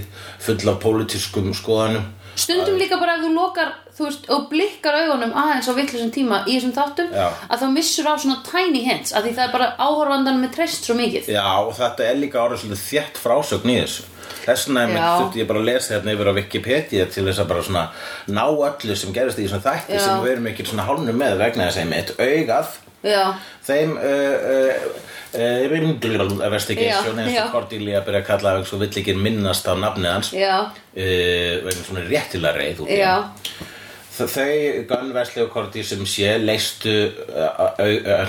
full af pólitískum skoðanum
Stundum líka bara ef þú lokar, þú veist, og blikkar augunum aðeins á vittlisum tíma í þessum þáttum
Já.
að þá missur á svona tiny hints að því það er bara áhorfandanum með treyst svo mikið
Já, og þetta er líka orðið svolítið þétt frásögn í þessu Þess vegna einmitt
Já.
þurfti ég bara að lesa hérna yfir á Wikipedia til þess að bara svona ná öllu sem gerist í þessum þætti
Já.
sem við erum ekki svona hálnum með vegna þess einmitt augað
Já,
þeim uh, uh, rimglum investigation
Já,
eins
já.
og Cordelia byrja að kalla eins og vill ekki minnast á nafnið hans uh,
já,
vegna svona réttilega reið út í
já,
hann. Þ- Þau Gunn, Wesley og Cordy sem sé leistu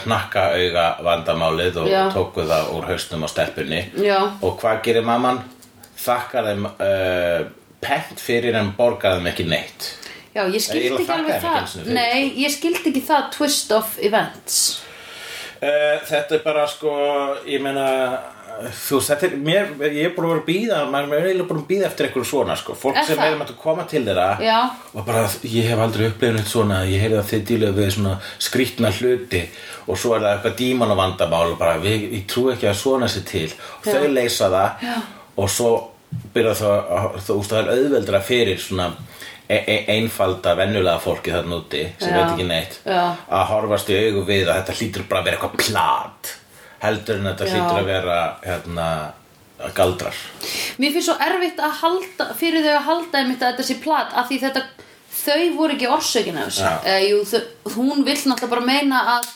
hnakka auga vandamálið og
Já.
tóku það úr hausnum á stelpunni
Já.
og hvað gerir mamman? Þakkar þeim uh, pent fyrir en borgar þeim ekki neitt
já, ég
Ég
skildi ekki
þakkaði
alveg
ekki einu
það
sinni fyrir,
Nei, ég skildi ekki það twist of events
Uh, þetta er bara sko, ég meina þú veist, þetta er, mér, ég er búin að vera að býða maður er eiginlega búin að býða eftir einhverju svona sko. fólk
Er
sem
það?
erum að koma til þeirra
Já.
og bara, ég hef aldrei upplegin eitt svona, ég heyrði að þið dýlega við svona skrýtna hluti og svo er það eitthvað díman og vandamál og bara, við, ég trú ekki að svona sér til og
Já.
þau leysa það
Já.
og svo byrja það að- þú veist, það er auðveldra fyrir svona e e einfalda, venjulega fólki þarna úti sem
Já.
veit ekki neitt
Já.
að horfast í augu við að þetta hlýtur bara að vera eitthvað plat heldur en þetta
Já.
hlýtur að vera hérna, galdrar
Mér finnst svo erfitt að halda, fyrir þau að halda einmitt að þetta sé plat af því þetta, þau voru ekki orsökin af þessu.
Já.
Eh, jú, þau, hún vill náttúrulega bara meina að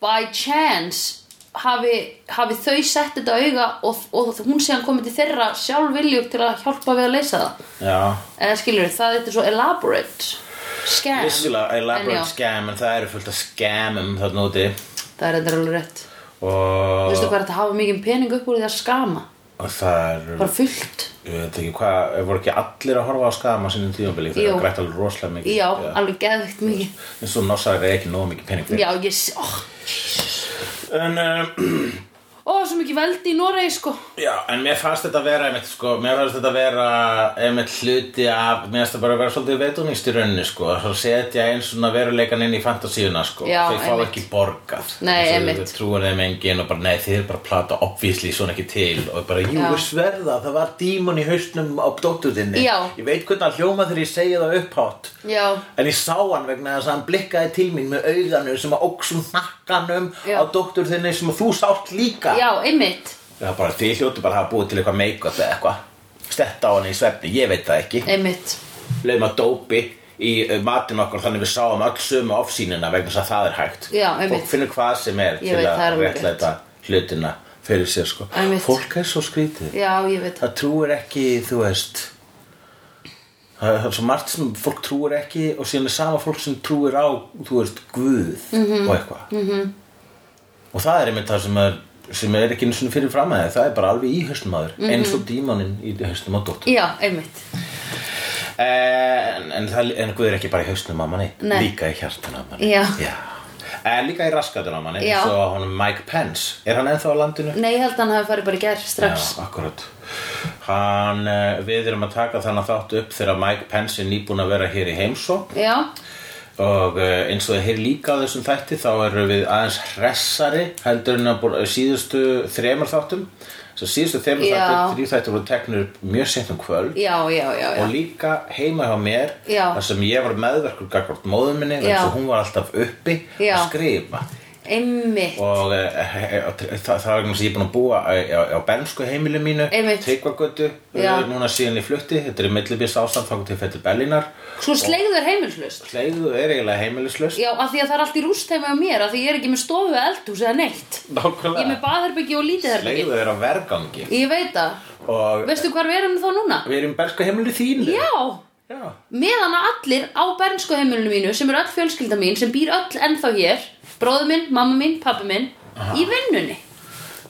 by chance hafi, hafi þau sett þetta á auga og, og hún sé hann komið til þeirra sjálfviljug til að hjálpa við að leysa það.
Já,
Eða skilur það þetta er svo elaborate scam.
vissulega
En
elaborate
já,
scam en það eru fullt af scamum þarna úti
Það er þetta alveg rétt.
og,
Veistu hvað er þetta að hafa mikið pening upp úr því að skama?
og það eru
Bara fullt.
ég veit ekki hvað, voru ekki allir að horfa á skama sínum tíðanbili, það
Jú.
er grætt alveg rosalega mikið
Já, alveg geðveikt mikið.
en svo nossar er ekki nógu mikið pening fyrir
Já, ég... s- Oh,
en, um,
Ó, svo mikið veldi í Noregi, sko.
já, en mér fannst þetta vera einmitt, sko, mér fannst þetta vera einmitt hluti af, mér fannst þetta bara vera svolítið veitunist í rauninni, sko svo setja eins svona veruleikan inn í fantasíuna, sko
Já,
þau fá
einmitt.
ekki borgað
Nei,
Svo
einmitt.
þau trúin þeim engin og bara, nei, þið er bara plata obvísli, svona ekki til og bara, jú,
Já.
ég sverða, það var dímon í hausnum á dóttur þinni
Já.
ég veit hvernig hann hljóma þegar ég segi það upphátt
Já,
En ég sá hann vegna þess að hann blikkaði til mín með auðanum sem að óksum nakkanum
Já.
á doktor þinni sem að þú sátt líka.
já, einmitt,
Það er bara því hljótu bara að hafa búið til eitthvað make-up eða eitthvað. Stetta á hann í svefni, ég veit það ekki.
einmitt.
Leum að dópi í uh, matinn okkur þannig við sáum öll sömu ofsýnina vegna þess að það er hægt.
Já, einmitt.
Fólk finnur hvað sem er
Ég
til
veit, það er
að
alveg
réttlæta hlutina fyrir sér sko.
Einmitt.
Fólk er svo skrítið
Já, ég veit það.
það trúir ekki, þú veist það það er svo margt sem fólk trúir ekki og síðan er sama fólk sem trúir á, þú veist, Guð
Mhm.
og eitthvað -hmm. og það er einmitt það sem er sem er ekki einu sinni fyrir fram að það það er bara alveg í haustum aður
Mhm.
eins og dímaninn í haustum á dóttur
Já, einmitt.
en, en, það, en Guð er ekki bara í haustum á manni
Nei.
líka í hjartan á manni
Já.
En líka í raskatun á manni,
Já.
eins og honum Mike Pence Er hann ennþá á landinu?
Nei, ég held að hann hafi farið bara í gerð strax.
Já, akkurat Hann, eh, við erum að taka þannig þátt upp þegar Mike Pence er nýbúin að vera hér í heimsókn
Já,
og eh, eins og þið heyr líka á þessum þætti þá erum við aðeins hressari heldur en að búin- síðustu þremur þáttum Svo síðustu þremur
Já.
þáttum, þrjú þættum voru teknir upp mjög sent um kvöld
já, já, já, já.
og líka heima hjá mér
Já.
þar sem ég var meðverkur gagvart móður minni
Já.
eins og hún var alltaf uppi
Já.
að skrifa
Einmitt.
og e, e, e, e, það, það er vegna sem ég er búin að búa á, á, á bernsku heimilu mínu
Einmitt.
Tryggvagötu,
Já.
eh, núna síðan ég flutti þetta er millibils ástand þá til fættu Berlínar
Svo slegðu þér heimilslust.
Hleiðu er eiginlega heimilislaust
Já, af því að það er allt í rúst heima á mér, af því ég er ekki með stofu eldhús eða neitt. Ég er með
Nákvæmlega
baðherbyggi og lítið herbyggi.
Hleiðu er á vergangi
Ég veit það.
og
Veistu hvar við erum þá núna?
við erum í bernsku heimilu þínu
Já,
Já.
meðan að allir á bernsku heimilinu mínu sem er öll fjölskylda mín sem býr öll ennþá hér bróður minn, mamma mín, pappi minn í vinnunni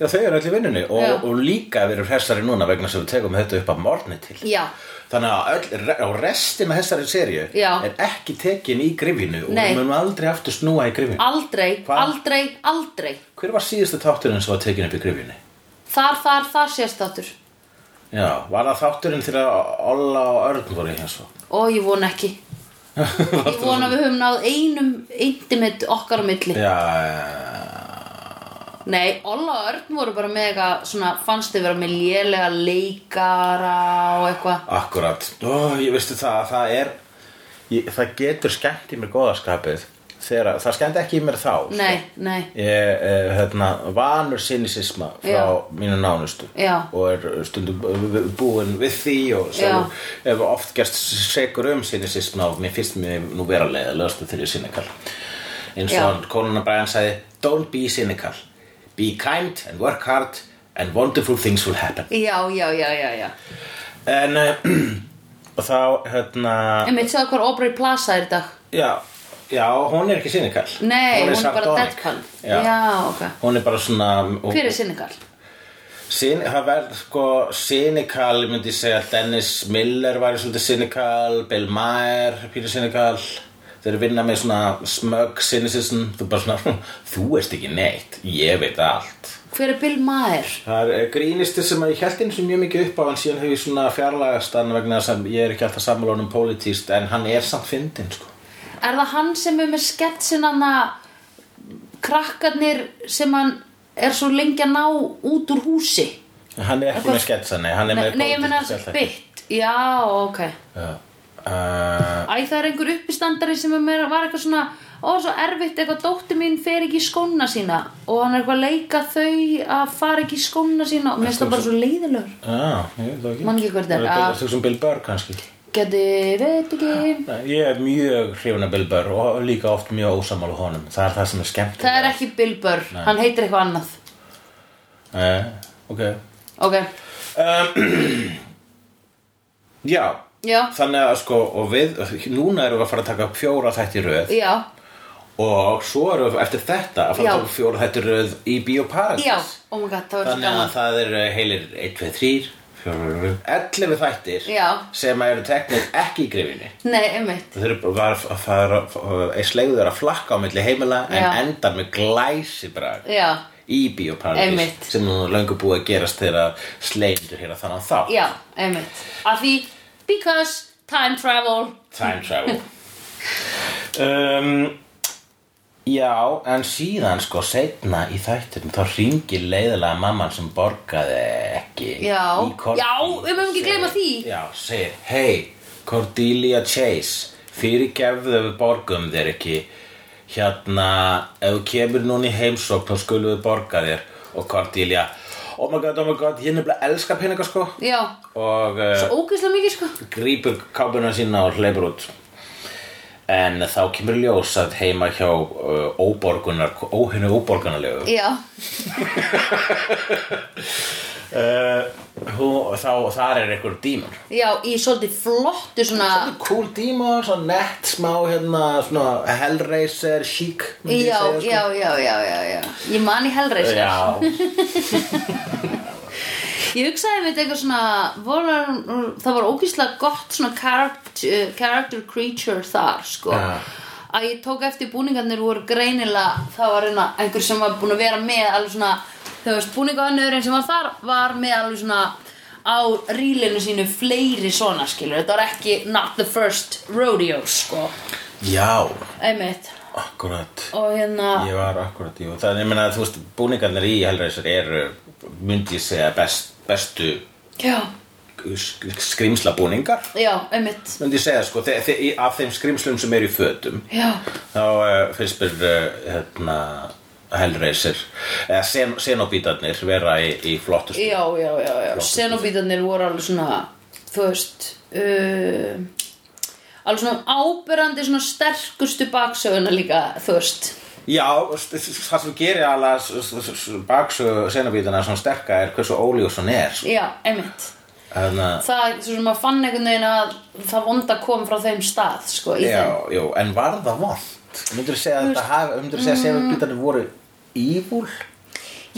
Já, þau eru öll í vinnunni
Já.
og, og líka við erum hressari núna vegna sem við tegum þetta upp að morgni til.
Já.
Þannig að öll, re- og restin af þessari serju
Já.
er ekki tekin í grifinu og
Nei.
við munum aldrei aftur snúa í grifinu.
Aldrei,
Hva?
aldrei, aldrei
Hver var síðustu þátturinn sem var tekin upp í grifinu?
Þar, þar, þar sést þáttur
Já, var það þátturinn þegar Olla og Örn voru í hins og?
Ó, ég von ekki Ég von að við höfum náð einum intimate okkar á milli
Já, já,
Nei, Olla og Örn voru bara með eitthvað svona, fannst þið vera með lélega leikara og eitthvað
akkurat. Ó, ég veistu það, það er, ég, það getur skemmt í mér góðaskapið. Þegar, það skemmt ekki í mér þá. sko.
Nei, nei,
Ég er hérna, vanur sinisisma frá
Já.
mínu nánustu
Já.
og er stundum búin við því og
Já.
svo ef oft gerst segur um sinisisma og mér finnst mér nú vera leiðilegast þegar ég er cynical eins
Já.
og konuna Brian sagði Don't be cynical, be kind and work hard and wonderful things will happen
já, já, já, já, já
En uh, og þá hérna
Einmitt, sjáðu hvað Aubrey Plaza er í dag
já, já, hún er ekki cynical
Nei, hún er, bara
sardonic.
deadpan
Já.
ok
Hún er bara svona
Hver er sinningall?
Sin, það verð sko cynical, ég myndi segja að Dennis Miller væri svolítið cynical, Bill Maher pínu cynical, þeir eru að vinna með svona smug cynicism, þú bara svona, þú ert ekki neitt, ég veit allt.
Hver er Bill Maher?
Það er grínisti sem að ég held eins og mjög mikið upp á en síðan hefur ég svona fjarlægast hann vegna þess að ég er ekki alltaf sammála honum politíst en hann er samt fyndinn sko.
Er það hann sem er með sketsin hann að krakkarnir sem hann er svo lengi að ná út úr húsi?
Hann er ekki
Eitthvað-
með sketsa, nei, hann er
Nei,
með
nei, ég meina
politískt sjálfstæði.
bytt Já, ok
Já. Uh,
Æ, það er einhver uppistandari sem er meira, var eitthvað svona Ó, svo erfitt, eitthvað dóttir mín fer ekki í skóna sína og hann er eitthvað að leika þau að fara ekki í skóna sína og mér finnst það bara svo leiðilegur
Já, ah, ég veit það ekki
Man ekki hvort það er, ah.
Það
já.
er sem Bill Burr kannski
Geti, veit ekki
Nei, Ég er mjög hrifin af Bill Burr og líka oft mjög ósamála honum Það er það sem er skemmt
Það er ekki Bill Burr, hann heitir eitthvað annað
Eh, Ok
Ok,
Já,
já,
þannig að sko og við, núna erum við að fara að taka fjóra þætti röð
já,
og svo erum við eftir þetta að fara
Já.
að taka fjóra þætti röð í Bíóparadís
já Oh my god, það var svo
Þannig að
gaman
það er eh, heilir 1, 2, 3, 4, 11 þættir
Já.
sem eru teknir ekki í grifinni
Nei, einmitt,
Þeir eru bara að fara að slegður að flakka á milli heimila en
Já.
endar með glæsi bara
já,
í bíóparadís
Einmitt.
sem nú er löngu búið að gerast þegar slegður hérna þannig þá
já, einmitt Af því, because time travel
time travel um, Já, en síðan sko setna í þættinum þá ringir leiðilega mamman sem borgaði ekki
Já.
í Cordelia.
Já, við mögum ekki gleyma því.
Já, segir, hey Cordelia Chase fyrirgefðu ef við borgum þér ekki hérna, ef þú kemur núna í heimsókn þá skulum við borga þér og Cordelia, oh my god, oh my god ég nefnilega elska peninga sko
Já,
og uh,
svo ógeðslega mikið sko
grípur kápuna sína og hleypur út en þá kemur ljós að heima hjá uh, óborgunar, óhinu óborgunarlegu
Já,
uh, hún, þá þar er einhver dímon
já, í svolítið flottu svona
cool dímon, svo nett smá hérna, svona hellraiser chic myndi ég
Já,
segja, sko.
já, já, já, já, já Ég man í Hellraiser
já,
Ég hugsaði með eitthvað svona voru, það var ógíslega gott svona character, character creature þar sko
Ja.
að ég tók eftir búningarnir voru greinilega það var einna, einhver sem var búin að vera með alveg svona, þau veist búningarnirinn sem var þar var með alveg svona á rílinu sínu fleiri svona skilur, þetta var ekki not the first rodeo sko
já,
einmitt
akkurat
og hérna
ég var akkurat, jú, það er, ég meina, þú veist búningarnir í hellraiser eru myndi ég segja best, bestu
já,
sk- skrýmsla búningar
já, einmitt
myndi ég segja sko, þe þe í- af þeim skrimslum sem eru í fötum
já,
þá uh, finnst mér uh, hérna, Hellraiser eða sen senobítarnir vera í, í flottustu
já, já, já, já. senobítarnir voru alveg svona þú veist uh, alveg svona áberandi svona sterkustu baksöguna líka þú veist
Já, s- s- það sem gerir alveg baksu senobítarna svona sterka er hversu óljós hann er sko.
já, einmitt
þannig að
það, svo sem maður fann einhvern veginn að það vonda kom frá þeim stað sko, í
Já,
þeim.
já, en var
mm.
það vond? Myndur þú segja að þetta hafi, myndur þú segja að senobítarnir voru ívúl?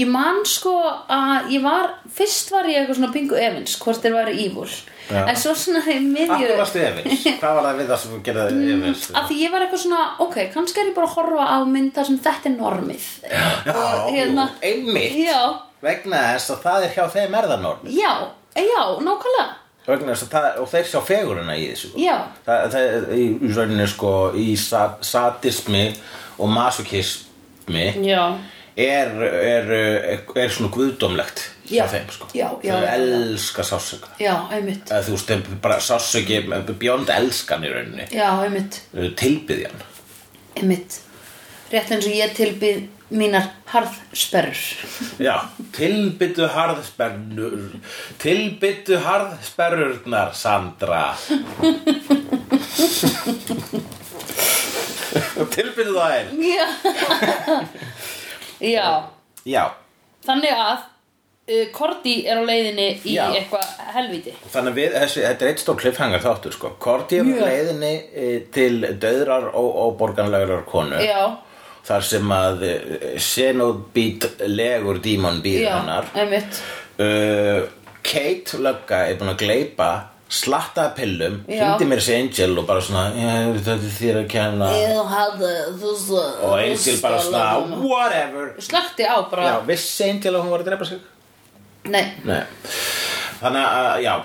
Ég man sko að ég var, fyrst var ég eitthvað svona pingu evins, hvort þeir væri ívul.
Já.
En svo svona þegar miðju...
Akkur varstu efins? Hvað var það við það sem gerði þig efins?
Mm. Af því ég var eitthvað svona, ok, kannski er ég bara að horfa á mynd þar sem þetta er normið.
Já,
Og hérna-
einmitt
Já,
Vegna þess að það er hjá þeim erðanorm
já, já, nákvæmlega.
Vegna þess að það, og þeir sjá fegurina í þessu
Já.
Það, það í, í rauninni sko í sa, sadismi og masokismi
Já,
er, er, er, er svona guðdómlegt
Já.
hjá þeim sko
Já, já,
Þau
já.
elska sásöka
já, einmitt.
Þú veist, þeim bara sásöki bjónd elskan í rauninni uh,
Já, einmitt,
Tilbyðjan
einmitt. Rétt eins og ég tilbyð mínar harðsperrur.
Já, tilbyttu harðsperrur Tilbyttu harðsperrurnar, Sandra Tilbyttu það er
Já, já.
Já,
Þannig að uh, Korti er á leiðinni í
Já.
eitthvað helviti
þannig að við, þessi, þetta er eitt stór kliffhangar þáttur sko Korti er
Mjög.
yeah. leiðinni eh, til döðrar og óborganlegurar konu
Já,
Þar sem að Xenobít legur dímon býður
já,
hennar
einmitt
uh, Kate lögga er búin að gleypa slattaði pillum,
Já.
hindi mér þessi Angel og bara svona, "Já, þetta er þér að kenna
Ég hafði þú svo
og Angel bara svona, whatever
Slökkti á bara
já, vissi Angel að hún var að drepa sig
Nei,
Nei. þannig að, já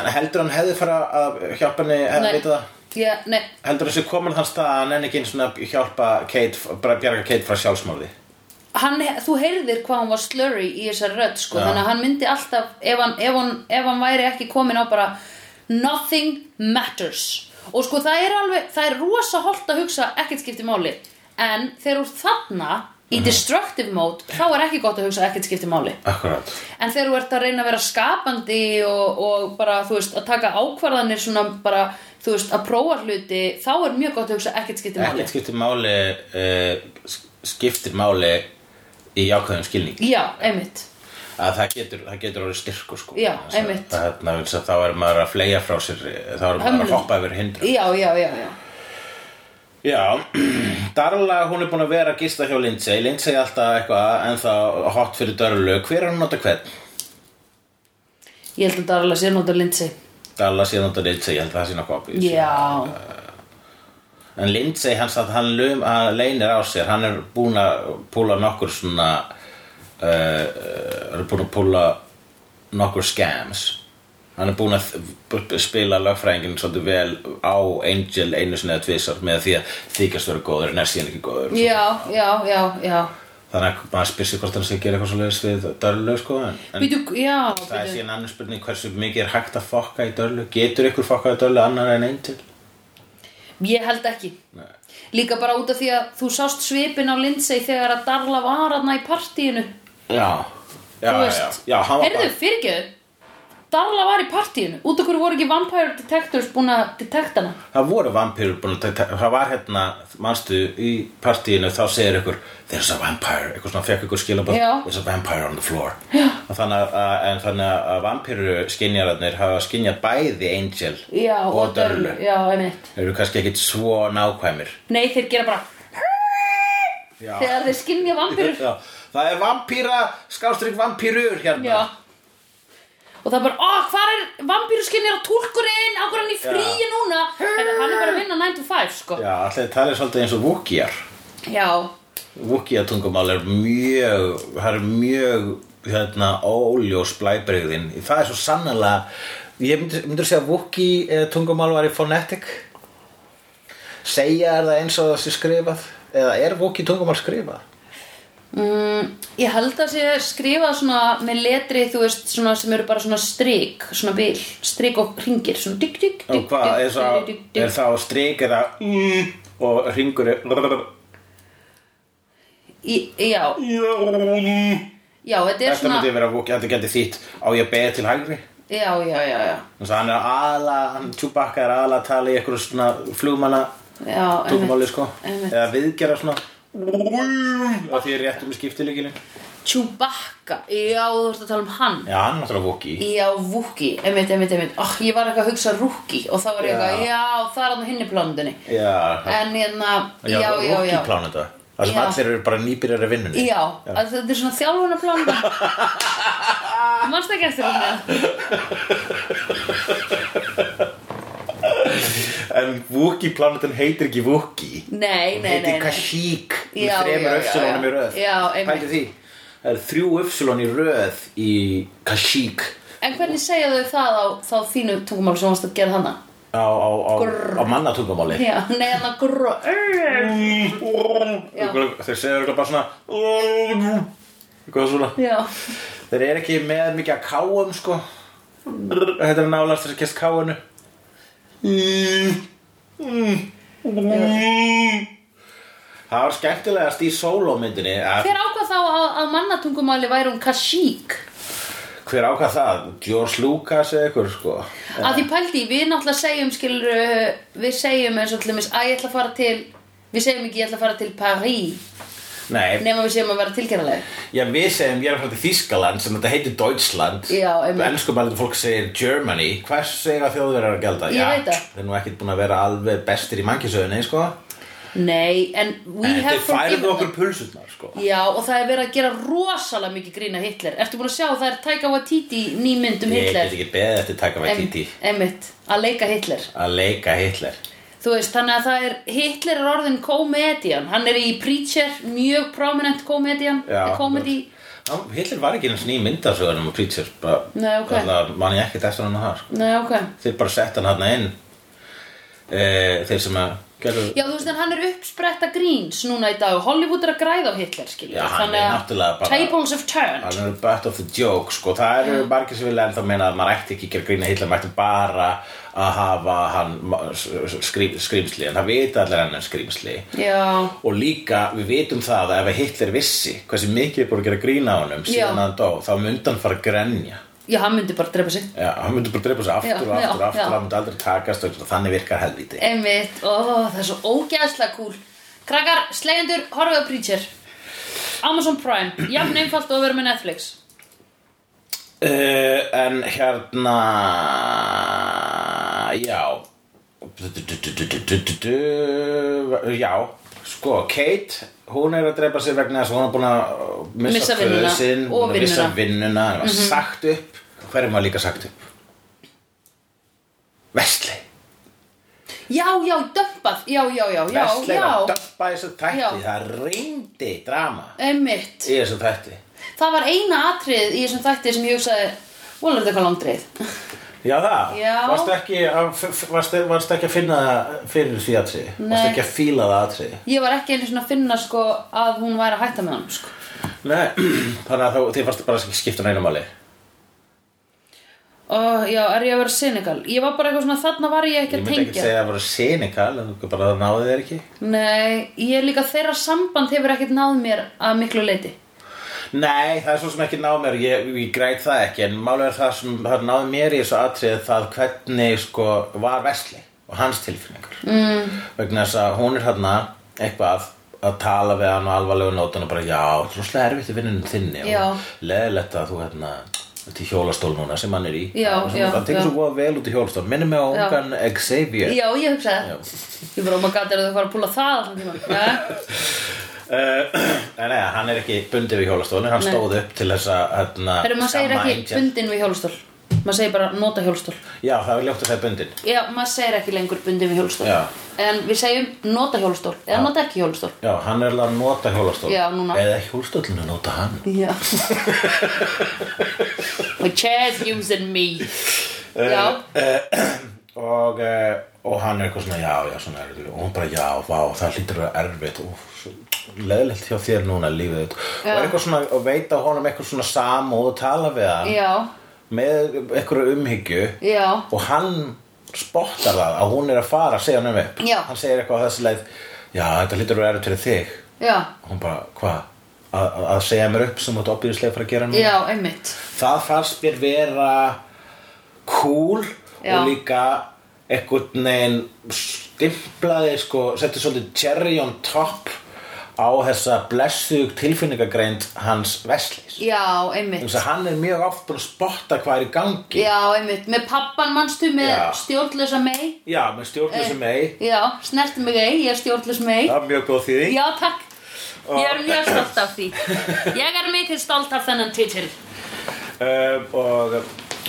en heldur hann hefði fara að hjálpa henni
nei
að vita það
Já, nei,
heldur þessi komin þann stað að hann enn ekki einu svona hjálpa Kate, bara bjarga Kate frá sjálfsmálði
hann, þú heyrðir hvað hann var slurry í þessari rödd sko,
Já.
þannig að hann myndi alltaf ef hann, ef, hann, ef hann væri ekki komin á bara nothing matters og sko það er alveg það er rosa holt að hugsa ekkert skipti máli en þegar úr þarna í destructive mode þá er ekki gott að hugsa ekkert skipti máli
akkurat
en þegar þú ert að reyna að vera skapandi og, og bara þú veist að taka ákvarðanir svona bara þú veist að prófa hluti þá er mjög gott að hugsa ekkert skipti máli
ekkert skiptir máli uh, skiptir máli í jákvæðum skilning
já, einmitt
að það getur, það getur orðið styrku sko.
Já,
Þess að-
einmitt.
það- þarna, vegna þess að Þá er maður að fleja frá sér þá er maður
Hömlum.
að hoppa yfir hindru
já, já, já, já
Já, Darla hún er búin að vera að gista hjá Lindsay Lindsay er alltaf eitthvað en þá hot fyrir Darlu Hver er hún nota hvern?
ég held að Darla sér nota Lindsay
Darla sé nota Lindsay, ég held að það sé nokkuð ábyggjum
Já,
En Lindsay, hann satt, hann, lum, hann leynir á sér Hann er búin að púla nokkur svona uh, uh, er búin að púla nokkur scams Hann er búin að þ- spila lögfræðingin svolítið vel á Angel einu sinni eða tvisar með því að þykast vera góður en er síðan ekki góður
já, já, já, já
Þannig að maður spyr sig hvort hann sé að gera eitthvað svo leiðis við dörlu sko en, en
Býtu, já,
það er
býtu
síðan annars spurning hversu mikið er hægt að fokka í dörlu Getur ykkur fokkað í dörlu annar en Angel?
Ég held ekki Líka bara út af því að þú sást svipin á Lindsay þegar að Darla var aðna í partíinu
Já,
Þú
já, já, já,
veist.
já hann var
Heyrðu, fyrirgeðu Darla var í partíinu Út af hverju voru ekki Vampire Detectors búin að detekta hana
Það voru vampýrur búin að taka- það var hérna, manstu, í partíinu þá segir ykkur, there's a vampire eitthvað svona fekk ykkur skilabóð,
Já.
there's a vampire on the floor Já. þannig að, en þannig að vampýru skinjararnir hafa skinjað bæði Angel
Já,
og, Dörlu
Já, einmitt
Þeir eru kannski ekkit svo nákvæmir
Nei, þeir gera bara
Já.
Þegar þeir skinja vampirur
Já. Það er vampýra, skástrík vampýrur hérna
Já Og það er bara, ó, hvað er vampýruskinjar að túlkurinn, á hverju er hann í fríi núna? Þetta, hann er bara að vinna 9 to 5, sko.
Já, allir talið svolítið eins og Wookiear
Já,
Wookiee tungumál er mjög það er mjög hérna, óljós blæbrigðin það er svo sannlega ég myndi, myndur segja að Wookiee eh, tungumál var í phonetic segja er það eins og það sé skrifað eða er Wookiee tungumál skrifað
mm, ég held að sé skrifað svona með letri, þú veist, svona sem eru bara svona strik, svona bil, strik og ringir, svona digg, digg,
og
digg,
hvað er, sá,
digg, digg, digg,
er
digg.
það á strik eða mm, og ringur er
Í- Já, já, þetta er
þetta
svona,
myndi vera Wookiee þetta geti þýtt á ég beðið til hægri
já, já, já, já,
þannig að hann er aðla hann Chewbacca er aðla að tala í eitthvað svona flugmanna
já,
tungumáli sko
einmitt.
eða viðgera svona að því er réttum í skiptileikinu já,
Chewbacca, já, þú ert að tala um hann.
hann er náttúrulega voki
Já, Wookie, einmitt, einmitt, einmitt oh, Ég var eitthvað að hugsa Rookie og þá var ég
Já.
eitthvað, já, það er hann hinni plánundinni
já,
En hérna, Eh, já, já, já
voki plánenda Það sem
Já.
allir eru bara nýbyrjar í vinnunni
Já, að þetta er svona þjálfuna plana Manst ekki eftir hún
En Wookie planetin heitir ekki Wookie
Nei, nei, nei,
Heitir
nei.
Kashyyyk
Já,
Með
já,
þremur
já, já.
öfsulónum í röð
Já, einmitt.
Pældu því Það eru þrjú öfsulón í röð í Kashyyyk
En hvernig segja þau það á, þá þínu tungumál sem varst að gera hana?
Á, á, á,
Grrr.
á mannatungumáli
Já, nei, hann að gró Já.
Þeir segja eitthvað bara svona Eitthvað svona
Já,
Þeir eru ekki með mikið að káum sko Þetta er nálast þess að gest káinu Það var skemmtilegast í sólómyndinni að
hver ákvað þá að, að mannatungumáli væri hún Kashyyyk?
hver ákvað það? George Lucas eða ykkur sko
Að því pældi, í, við náttúrulega segjum skilur við segjum eins og til dæmis að ég ætla að fara til við segjum ekki ég ætla að fara til París
Nei,
nema við segjum að vera tilgerðarlega
já við segjum ég er að fara til Þískaland sem þetta heitir Deutschland
Já, einmitt.
Elskum alveg fólk segir Germany Hvers segir að þjóðverðar að gelda?
Ég veit það.
Þeir eru nú ekkert búin að vera alveg bestir í mannkisöðunni sko
Nei, en we
En
have
þeir færðu
forgiven
okkur pulsurnar sko
Já, og það er verið að gera rosalega mikið grína Hitler Ertu búin að sjá, það er Taika Waititi nýmynd um
Ég
Hitler
get ekki beðið eftir taka með Titi
Emmitt, að leika Hitler
að leika Hitler
Þú veist, þannig að það er Hitler er orðin komedian Hann er í Preacher, mjög prominent komedian
Já,
Komedi
Hann- Hitler var ekki eins og ný myndasögunum og Preacher bara,
Nei, ok.
allavega man ég ekkert eftir hann að það sko.
Nei, ok
Þeir bara sett hann hann inn e, Þeir sem að gerðu
Já, þú veist, en hann er uppspretta gríns núna í dag Hollywood er að græða á Hitler, skilur
Já, hann er náttúrulega bara-
Tables of turn
Hann er butt of the joke sko. Það eru margir sem vilja ennþá meina að maður ætti ekki að gera grína Hitler, maður ætti bara að hafa hann ma- s- s- skrím, skrýmsli en það vita allir hann er skrýmsli
Já,
og líka við vitum það að ef Hitler vissi hversu mikið er búin að gera grína á honum síðan
Já.
hann dó, þá myndi hann fara að grenja
já, hann myndi bara drepa sig
Já, hann myndi bara drepa sig aftur
Já,
og aftur og
já,
aftur
já.
hann myndi aldrei takast og þannig virkar helvíti
Einmitt, ó, það er svo ógeðslega kúl Krakkar, slegjendur, horfið á Preacher Amazon Prime, jafn einfalt og að vera með Netflix
uh, En hérna Já Já Sko, Kate, hún er að drepa sig vegna þess að hún er búin að missa,
Missa vinnuna
föðusinn,
og
búin að missa
vinnuna. Mhm.
vinnuna hann var sagt upp, hverjum var líka sagt upp Vestley
Já, já, dömpað, já, já, já, já,
Vestley var að
já
dömpa þessu tætti
Já.
það reyndi drama
Einmitt,
í þessu tætti
það var eina atrið í þessum þætti sem ég hugsaði Vola er þetta hvað langdreið
Já það,
Já.
varstu ekki, að- f- varstu, varstu ekki að finna það fyrir því atriði, varstu
Nei.
ekki að fíla það atriði
Ég var ekki einu svona að finna sko að hún væri að hætta með hann sko.
Nei, þannig að þú- þið varstu bara að skipta neina máli
Ó, já, er ég að vera cynical? Ég var bara eitthvað svona, þarna var ég ekki
Ég
að
myndi ekki
tengja
segja að það voru senikal, en þú bara náði þeir ekki
Nei, ég er líka þeirra samband hefur ekkert náð mér að miklu leiti
Nei, það er svo sem ekki náð mér, ég, ég græt það ekki En málið er það sem það náði mér í þessu atriði Það hvernig sko var Vesli og hans tilfinningar mm. Vegna þess að hún er hérna eitthvað að tala við hann á alvarlegu nótun og bara já, þú er svolítið erfitt í vinnunum þinni
Já.
og leðilegt að þú hérna til hjólastól núna sem hann er í
Já,
Og
já,
svona, það tekur
já.
svo voða vel út í hjólastól minnum mig á
Já.
ungan Xavier
Já, ég hugsaði það. Ég bara, oh my god, er þau að fara að púla það allan tíma ja.
Uh, nei, nei, hann er ekki bundið við hjólastólinu, hann
Nei.
stóð upp til þess að hérna,
Herru, maður segir
skamma
ekki
Angel.
bundin við hjólstól Maður segir bara nota hjólstól
Já, það er ljótt að það er bundin
Já, maður segir ekki lengur bundin við hjólstól
Já.
En við segjum nota hjólstól Eða nota ekki hjólstól
Já, hann er alveg að nota hjólastól
Já, núna.
Eða hjólastólinu nota hann
Já My chair's using me
Eh,
Já,
og, uh, og hann er eitthvað svona, já, já, svona er, og hún bara, já, vá, það hlýtur að vera erfitt og leðilegt hjá þér núna lífið þitt og
Já.
er eitthvað svona, og veita honum eitthvað svona samúð og tala við hann
já,
með eitthvað umhyggju
já
og hann spottar það að hún er að fara að segja hann um upp
Já.
hann segir eitthvað á þessi leið já þetta hlýtur að vera erfitt fyrir þig
Já,
og hún bara hvað að, að- að segja mér upp sem þú ert opbyrðislega fyrir að gera núna
já, einmitt
það fannst mér vera cool
Já.
og líka einhvern veginn stimplaði sko setti svolítið cherry on top á þessa blessuð tilfinningagreind hans Veslís
Já, einmitt
þess að hann er mjög oft búin að spotta hvað er í gangi
Já, einmitt Með pappan mannstu með
Já.
stjórnlösa mei
já með stjórnum sem ei
Já, snerti mig ei, ég er stjórnlösa mei
það er mjög góð þýðing
Já, takk Ég er mjög stolt af því Ég er mikið stolt af þennan titil
uh, og,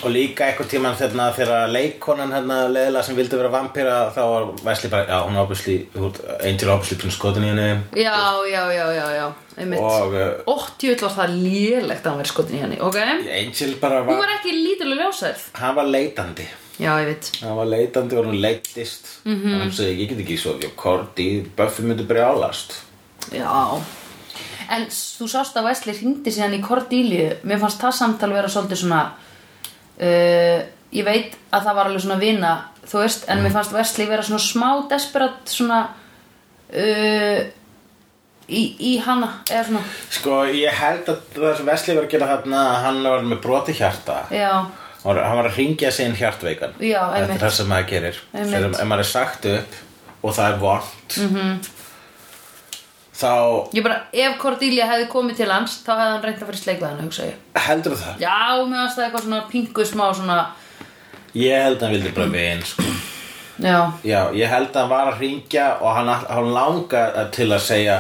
og líka eitthvað tíman þegar, þegar leikonan hérna leðila sem vildi vera vampíra þá var Vesli bara, já hún er ábúsli Angel ábúsli prins skotin í henni
Já, já, já, já, já Einmitt
og uh,
Óttjöld var það lélegt að hann verið skotin í henni Ok
Angel bara
Hún
var,
var ekki lítilega ljósæð
hann var leitandi
Já, ég veit
hann var leitandi og hún leittist mm
Mhm.
-hmm. hann segi ég get ekki svo ég korti, Buffy myndi brjálast
Já En þú sást að Wesley hringdi síðan í Cordelia Mér fannst það samtal vera svolítið svona uh, Ég veit að það var alveg svona vina Þú veist, en
Mm.
mér fannst Wesley vera svona smá desperat Svona uh, í, í hana Eða svona,
sko ég held að það sem Vesli var að gera hérna hann var með broti hjarta
já
Hann var- hann var að ringja sig inn hjartveikan
Já,
þetta
einmitt.
er það sem maður gerir
Einmitt.
þegar ef maður er sagt upp og það er vond -hmm.
Mhm.
þá
Ég bara, ef Cordelia hefði komið til hans Þá hefði hann reynt að fyrir sleikvæðan, hugsa ég
heldur það
Já, mér fannst það eitthvað svona pingu smá svona
ég held að hann vildi bara vin sko.
Já,
já, ég held að hann var að ringja og hann, hann langa til að segja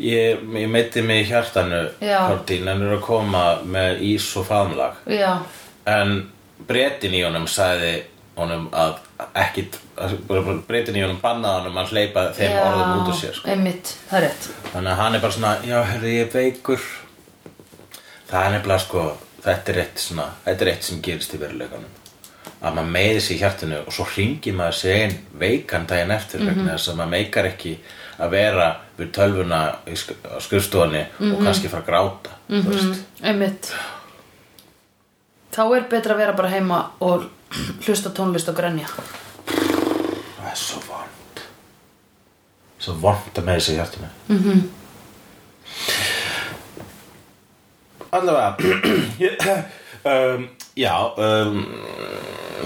ég, ég meiti mig í hjartanu
Já.
Kortín, hann er að koma með ís og faðmlag
já,
en breytin í honum sagði honum að ekkit breytin í honum bannaði honum að hleypa þeim
já
orðum út úr sér sko.
Einmitt, það er rétt
Þannig að hann er bara svona, já, herri, ég er veikur Það er nefnilega sko, þetta er eitt svona, þetta er eitt sem gerist í veruleikanum Að maður meiði sig í hjartinu og svo hringi maður sig einn veikan daginn eftir vegna þess að maður meikar ekki að vera við tölvuna í sk- á skurstofunni og kannski fara að gráta mm -hmm.
Einmitt Þá er betra að vera bara heima og hlusta á tónlist og grenja
Það er svo vond Svo vond að meiði sig í hjartinu mm
Mhm.
-hmm. Allavega ég- um, Já um,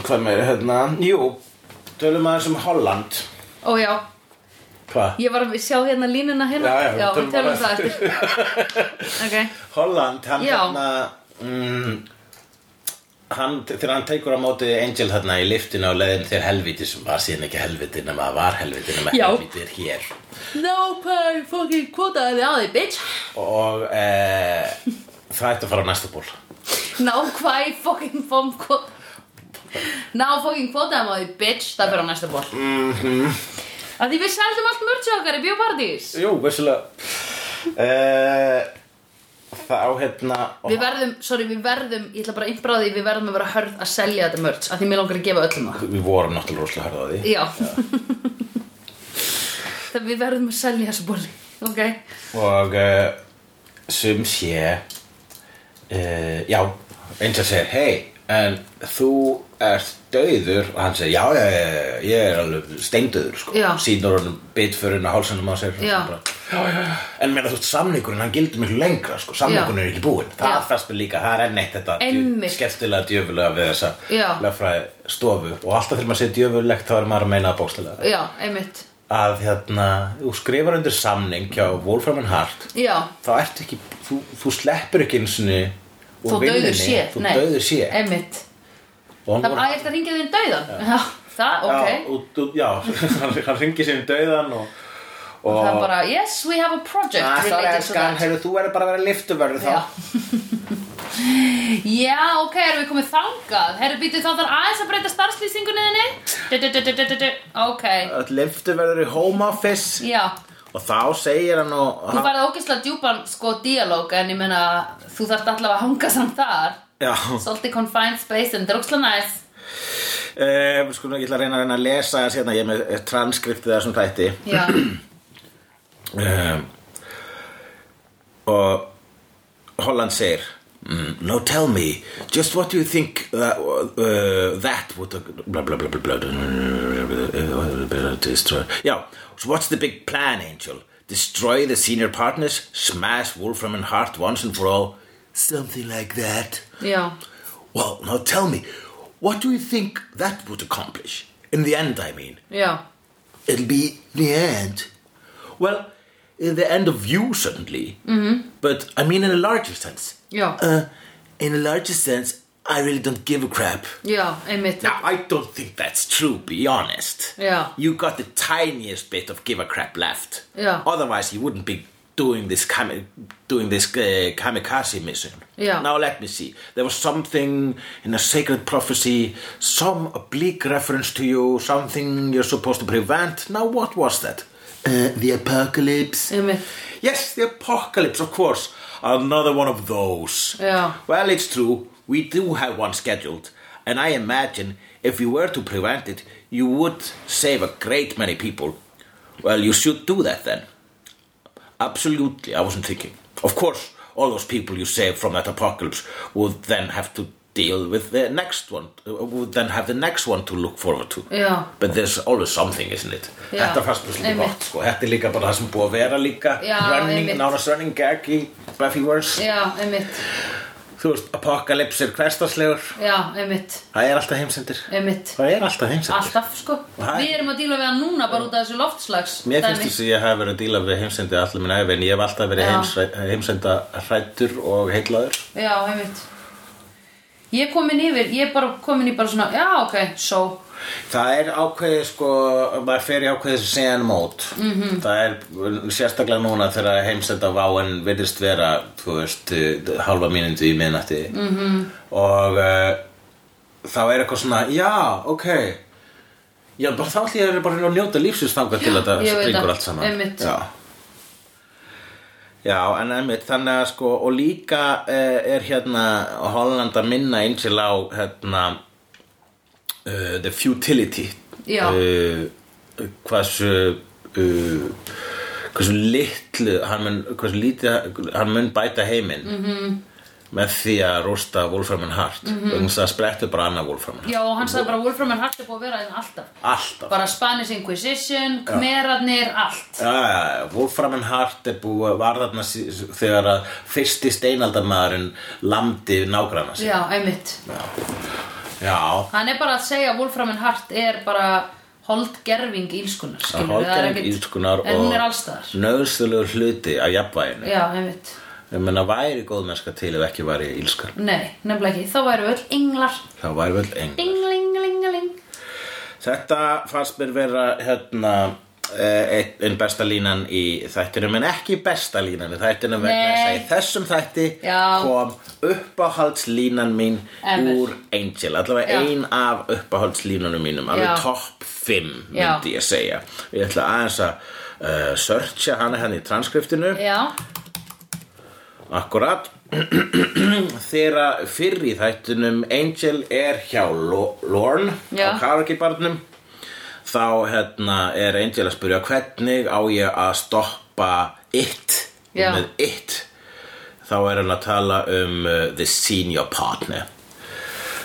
Hvað meira hérna Jú, tölum aðeins um Holland
Ó já,
Hvað?
ég var að sjá hérna línuna hérna
Já, já, við
við
tölum
tölum
bara
það eftir Ok,
Holland, hann
Já.
hérna mm, Hann, þegar hann tekur á móti Angel þarna í liftinu á leiðin til helviti sem var síðan ekki helviti nema að var helviti nema
Já.
helviti er hér
no pay fucking quota eða á því, bitch
og e, það ætti að fara á næsta ból
No quay fucking fom quota No fucking quota eða á því, bitch Það fyrir á næsta ból mm
Mhm.
-hmm. Því við seldum allt mörgsu okkar í biopartís
Jú, vissulega uh, Þá hérna
Við verðum, sorry, við verðum, ég ætla bara að innbráði, við verðum að vera hörð að selja þetta mörds að því mér langar að gefa öllum það.
Við vorum náttúrulega rosalega hörða á því
Já. Það við verðum að selja þessu bóli, ok?
Og uh, sum sé uh, Já, eins og segir Hei, en þú ert döður Og hann segir, já, já, já, já, ég er alveg steindöður sko.
Já.
Sýnur hann bitförinn á hálsanum á sér
Já.
Bara, já, já, já. En meina þú veist, samningurinn, hann gildi miklu lengra sko. Samningurinn er ekki búinn Það
Já.
fannst mér líka, það er enn eitt þetta
Einmitt.
skemmtilega djöfulega við þessa
Já.
lögfræði stofu og alltaf þegar maður segir djöfulegt þá er maður að meina það bókslega
Já, einmitt.
að hérna, þú skrifar undir samning hjá Wolfram and Hart
Já.
þá ertu ekki, þú, þú sleppur ekki eins og
Þú döður sé,
þú döður sé
Einmitt.
og hann
Það
voru
var eftir að ringja þinn dauðan. Já. Það, ok.
já, og, og, já, hann, hann ringi sér um döðan og, og Ah,
Það er bara, yes, we have a project
Að það er
related to
skan,
that.
heyrðu, þú verður bara að vera liftuverður þá
Já. Já, ok, erum við komið þangað? Herru, býtu þá þarf aðeins að breyta starfslýsingunni þinni? Du, du, du, du, du, du. Ok,
öll liftuverður í home office
já.
og þá segir hann og
Þú færði ógeðslega djúpan sko díalóg en ég meina þú þarft allavega að hanga samt þar
já,
Svolítið confined space en dróksla næs
Um, sko, ég ætla að reyna að reyna að lesa það sérna, ég er með eh, transkriptið af þessum þætti
Já,
um, og Holland segir mm, Now tell me, just what do you think that, uh, that would blah, blah, blah, blah, blah, destroy Já, so what's the big plan, Angel? Destroy the senior partners, smash Wolfram and Hart once and for all Something like that
já,
Well, now tell me, what do you think that would accomplish? In the end, I mean.
já
It'll be the end. Well, in the end of you, certainly. Mm-hmm. But I mean, in a larger sense.
Já.
Uh, in a larger sense, I really don't give a crap.
Já, einmitt
Now, I don't think that's true, be honest.
Yeah.
You got the tiniest bit of give a crap left.
Yeah.
Otherwise, you wouldn't be doing this kami- doing this uh, kamikaze mission.
Yeah.
Now let me see. There was something in a sacred prophecy, some oblique reference to you, something you're supposed to prevent. Now what was that? Uh, the apocalypse.
Einmitt.
Yes, the apocalypse, of course. Another one of those.
Yeah.
Well, it's true. We do have one scheduled. And I imagine if you were to prevent it, you would save a great many people. Well, you should do that then. Absolutely, I wasn't thinking. Of course, all those people you saved from that apocalypse would then have to deal with the next one, uh, would then have the next one to look forward to.
Já.
But there's always something, isn't it?
Já,
Þetta fannst mér svolítið
einmitt.
gott, sko. Þetta er líka bara það sem búið að vera líka
Já,
running,
einmitt.
nánast running gag í Buffyverse.
Já, einmitt
Þú veist, apokalyps er hverstaslegur
Já, einmitt,
Það er alltaf heimsendir
einmitt
Það er alltaf heimsendir
Alltaf, sko
Hæ?
Við erum að díla við hann núna bara út af þessu loftslags
Mér finnst
dæmi.
þess að ég hef verið að díla við heimsendi allir minn æfi en ég hef alltaf verið
Já.
heims, heimsenda hrættur og heillaður
Já, einmitt Ég er komin yfir, ég er bara komin í bara svona Já, ok, so
Það er ákveðið sko, maður fer í ákveðið sen mót mm
Mhm.
-hmm. Það er sérstaklega núna þegar heimsenda váin virðist vera, þú veist, eh, hálfa mínundu í miðnætti mm
Mhm.
-hmm. Og uh, þá er eitthvað svona, já, ok Já, bara þá ætlum ég bara að reyna að njóta lífsins þangað til að þetta
ég veit það.
springur allt saman
Einmitt.
Já Já, en einmitt, þannig að sko, og líka uh, er hérna Holland að minna einsil á hérna uh, The Futility
Já.
uh, Hversu uh, hversu litlu hann mun, hversu lítið hann mun bæta heiminn -hmm.
Mhm.
með því að rústa Wolfram and Hart mm -hmm. það sprettur bara annað Wolfram and Hart
Já, og hann sagði bara Wolfram and Hart er búið að vera þeim alltaf
Alltaf
Bara Spanish Inquisition, Kmerarnir, allt
Já, já, já, Wolfram and Hart er búið var þarna sí- þegar að fyrsti steinaldamaðurinn landi nágranna sig.
Já, einmitt
Já,
Hann er bara að segja að Wolfram and Hart er bara holdgerfing ílskunar skilurðu, það er
hálfgerðing
ekkit-
ílskunar
En hún er
og
allstaðar
nöðslulegur hluti af jafnvæginu.
Já, einmitt
Ég menna væri góðmennska til ef ekki væri ílskan.
Nei, nefnilega ekki, þá væru öll englar
Þá væri vel eng.
Dinglingalingaling
Þetta fannst mér vera hérna eh, einn- einn besta línan í þættinum en ekki besta línan í þættinum vegna
Nei.
þess að í þessum þætti
Já.
kom uppáhaldslínan mín
Ever.
úr Angel allavega
Já.
ein af uppáhaldslínunum mínum alveg
Já.
topp 5
Já.
myndi ég segja ég ætla aðeins að uh, searcha hana henni í transkriptinu
Já,
Akkurat Þegar fyrr í þættunum Angel er hjá Lo- Lorne
Já.
á karaokebarnum þá hérna er Angel að spyrja hvernig á ég að stoppa it
Já.
með it þá er hann að tala um uh, the senior partner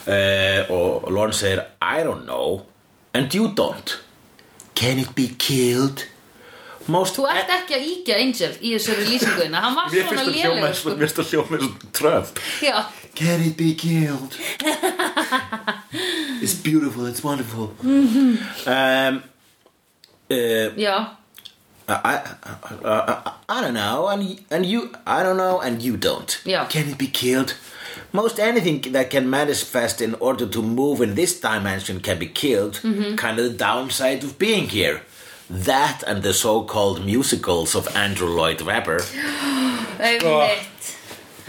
uh, og Lorne segir I don't know and you don't Can it be killed? Most
þú ert ekki að íkja Angel í þessari lýsinguðina Hann var
Mér
svona
finnst það
lélegur
hljóma-
sko.
mér finnst það hljóma eins og tröf
Já,
Can it be killed? it's beautiful, it's wonderful. um, uh,
já,
I, I, I, I don't know, and y- and you, I don't know, and you don't.
Yeah.
Can it be killed? Most anything that can manifest in order to move in this dimension can be killed. Kind of the downside of being here. That and the so-called musicals of Andrew Lloyd Webber. Sko.
einmitt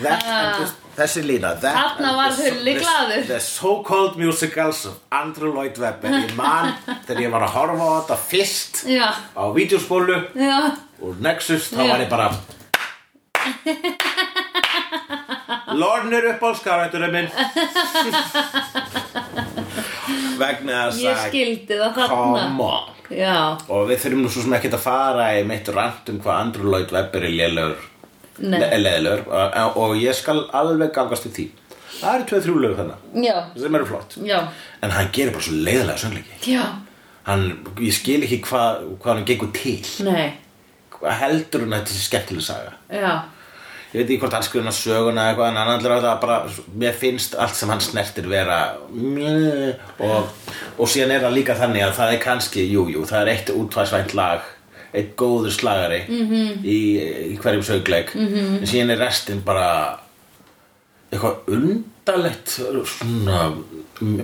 That and this, þessi lína that
Ah. Þarna
and
var
the-
Hulli
the-
glaður.
The so-called musicals of Andrew Lloyd Webber Ég man þegar ég var að horfa á þetta fyrst
Já,
á vídeospólu
já,
og Nexus þá
Já.
var ég bara Lorne er upp á skarætturinn minn vegna þess
ég
að
skildi það þarna
come on
Já,
og við þurfum nú svo sem ekkert að fara í meitt rant um hvað Andrew Lloyd Webber er lélegur
nei,
leðilegur og ég skal alveg gangast til því það eru tveið þrjú lög þannig
já,
sem eru flott
já
en hann gerir bara svo leiðilega söngleiki
Já,
hann, ég skil ekki hvað hva hann gengur til
nei,
hvað heldur hann að þetta sé skemmtileg saga
já
ég veit ekki hvort hann skrifa hann söguna eða eitthvað en hann allir að það bara mér finnst allt sem hann snertir vera meh, og, og síðan er það líka þannig að það er kannski jú, jú, það er eitt útvæðsvænt lag eitt góður slagari -hmm. í, í hverjum sögleik -hmm. en síðan er restin bara eitthvað undalegt svona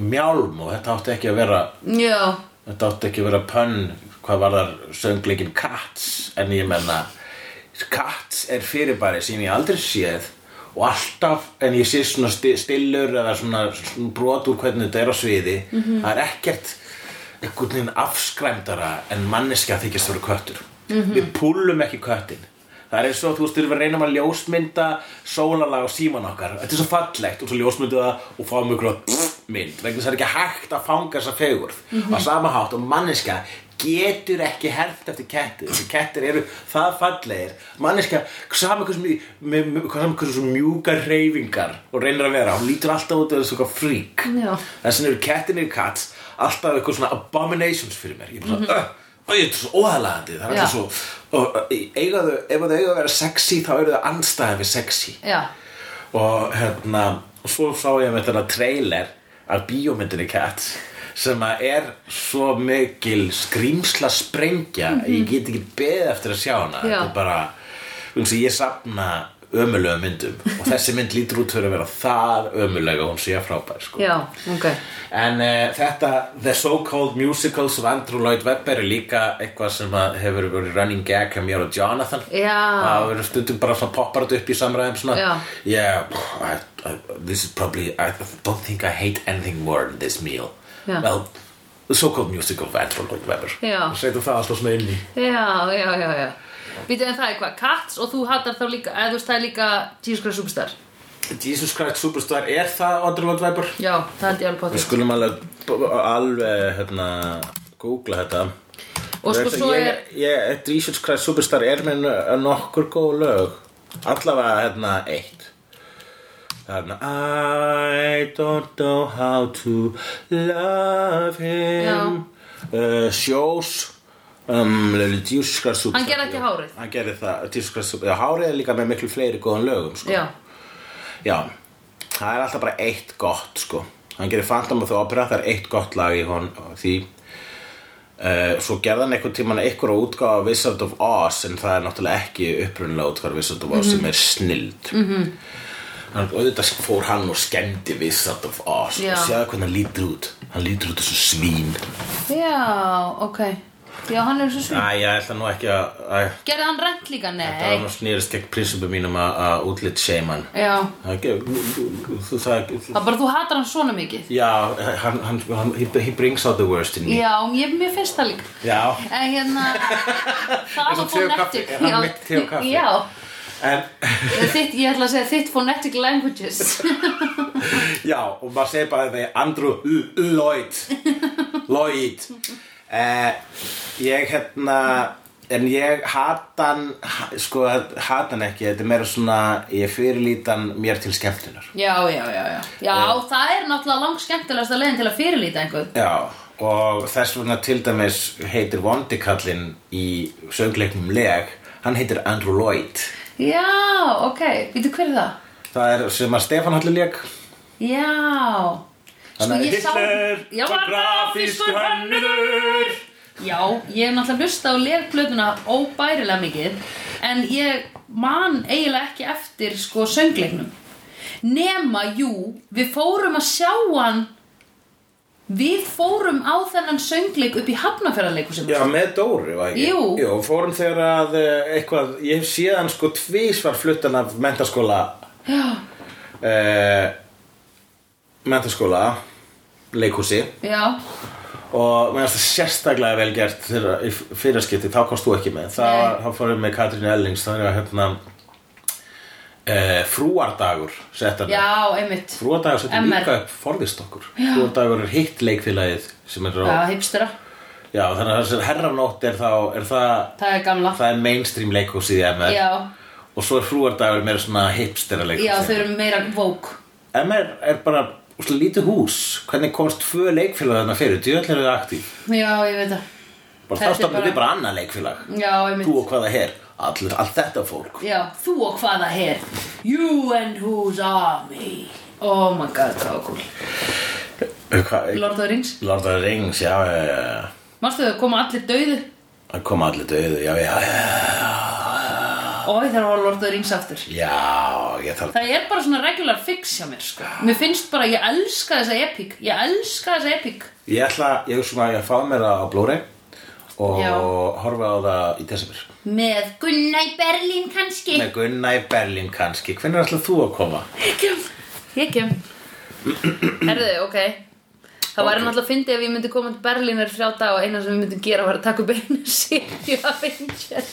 mjálm og þetta átti ekki að vera
Já,
Þetta átti ekki að vera pönn hvað var þar söngleikin Cats en ég menna Cats er fyrirbæri sem ég aldrei séð og alltaf, en ég sé svona sti- stillur eða svona, svona brot úr hvernig þetta er á sviði það er ekkert einhvern veginn afskræmdara en manneskja þykist fyrir köttur við púlum ekki köttin það er eins og þú veist, við reynum að ljósmynda sólalag á síman okkar þetta er svo fallegt og svo ljósmyndu það og fáum ykkur að mynd vegna þess að það er ekki hægt að fanga þessa fegurð
Mhm.
á sama hátt og manneskja getur ekki herft eftir kettir þessi kettir eru það fallegir manneskja, sama hversu mjú- með- með- hvað sama hversu mjúkar reyfingar og reynir að vera, hún lítur alltaf út eða svona frík
Já.
þess vegna eru kettinir kats alltaf eitthvað svona abominations fyrir mér ég er bara svona, mm og ég er svo óðalagandi það er
Mhm. Já.
alltaf svo og, ö, eiga þau, ef þau eiga að vera sexy þá eru þau anstæði við sexy
Já,
og hérna og svo sá ég með þennan trailer af bíómyndinni Cats sem að er svo mikil skrýmsla sprengja ég get ekki beðið eftir að sjá hana
Mhm. Já.
þetta er bara, þú veist, ég safna ömulega myndum og þessi mynd lítur út fyrir að vera það ömulega hún sé að frábær sko.
já, ok
En uh, þetta The So-Called Musicals of Andrew Lloyd Webber er líka eitthvað sem að hefur verið running gag hjá mér og Jonathan
Já.
Það verður stundum bara svona poppar þetta upp í samræðum svona
Já.
Yeah, I, I, this is probably, I don't think I hate anything more than this meal
Já.
Well, The So-Called Musical of Andrew Lloyd Webber
Já.
Setum það alltaf svona inn í
Já, já, já, já Býtu en það er hvað, Cats og þú hattar þá líka eða þú veist það er líka Jesus Christ Superstar
Jesus Christ Superstar, er það Andrew Lloyd Webber?
Já, það held ég alveg
Við
potið
skulum alveg, alveg hérna, googla þetta
Og sko,
Veistu,
svo
ég,
er-
ég, ég, Jesus Christ Superstar er með n- nokkur góð lög Allavega hérna eitt Það er hérna I don't know how to love him uh, Shows um, Jesus Christ Superstar
Hann gerði ekki hárið.
Hann gerði það, Jesus Christ Superstar Já, Hárið er líka með miklu fleiri góðan lögum sko.
Já,
Já, það er alltaf bara eitt gott sko Hann gerir Phantom of the Opera, það er eitt gott lag í hon því uh, Svo gerði hann einhvern tímann einhver útgáfa af Wizard of Oz en það er náttúrulega ekki upprunalega útgáfa af Wizard of Oz sem er snild mm
Mhm.
-hmm. Hann, auðvitað fór hann og skemmdi Wizard of Oz
Já.
og sjáðu hvernig hann lítur út Hann lítur út þessu svín
já, ok Já, hann er svo svið
Æ, ég ætla nú ekki að, að
Gerði hann rent líka?
Það var
Nei
nú snýrist gegn prinsipum mínum að- að útlit seiman
Já,
Það er ekki, þú- það
það er bara þú hattar hann svona mikið
Já, hann, hann, hann, he, he brings out the worst in me
Já, ég, mér finnst það líka
Já.
En hérna
Eins
Það
og
og
te og kaffi,
Phonetic
er hann mitt te og kaffi?
Já,
En,
eða þitt, ég ætla að segja þitt Phonetic Languages
já, og maður segir bara að það er Andrew L- Lloyd Lloyd eh, Ég hérna En ég hata hann ha- Sko, hata hann ekki Þetta er meira svona, ég fyrirlíti hann mér til skemmtunar
Já, já, já, já. Já, það er náttúrulega langt skemmtilegasta leiðin til að fyrirlíta einhvern.
Já, og þess vegna til dæmis heitir Vondikallin í söngleiknum leg Hann heitir Andrew Lloyd
Já, ok, veitu hver er það?
Það er sem að Stefán Halli leg
Já. Sko,
Þannig að
ég sá-
Hitler
Já,
var grafískur hönnuður.
Já, ég hef náttúrulega hlusta á leirblöðuna óbærilega mikið, en ég man eiginlega ekki eftir sko söngleiknum. Nema, jú, við fórum að sjá hann, við fórum á þennan söngleik upp í hafnafjörðarleikusinu.
Já, með Dóri, var ekki?
Jú.
Jú, fórum þegar að eh, eitthvað, ég hef séð hann sko tvísvar fluttan af mentaskóla
Já,
eh, mentaskóla leikhúsi
já,
og mér finnst það sérstaklega vel gert þegar í fyrirskipti, þá komst þú ekki með þá,
Nei.
þá fórum við með Katrínu Ellings þannig að hérna eh, frúardagur settan
já, einmitt.
frúardagur settan
MR.
líka upp forðist okkur frúardagur er hitt leikfélagið sem er á,
Já, hipstera.
já þannig að þessi herranótt er þá, er það
Það er gamla.
það er mainstream leikhúsið í MR
Já,
og svo er frúardagur meira svona hipstera leikhúsið
já, þau eru meira vók.
MR er bara svona lítið hús hvernig komst tvö leikfélag þarna fyrir djöðl eru þau aktív
Já, ég veit það.
bara
Þetta
þá
er
stopnum
bara-
við bara annað leikfélag
Já, ég
þú og hvaða her allir, allt þetta fólk
Já, þú og hvaða her. You and whose army. Oh my god, það var cool.
Hva,
Lord of the Rings.
Lord of the Rings, já, já, já, já
Manstu þau, koma allir dauðu.
það koma allir döðu, já, já,
Ó, ég þarf að horfa á Lord of the Rings aftur.
já já, ég þarf
Það er bara svona regular fix hjá mér, sko. Mér finnst bara, ég elska þessa epic. Ég elska þessa epic.
um ég ætla, ég hugsa maður að ég að fá mér það á Blu-ray og
Já.
horfa á það í desember
Með Gunna í Berlín kannski
með Gunna í Berlín kannski hvernig er alltaf þú að koma?
Ég kem Ég kem Herðu, ok Það væri
Ok.
náttúrulega fyndið ef ég myndi koma til Berlín er þrjá dag og eina sem við myndum gera var að taka upp einu sérju af Angel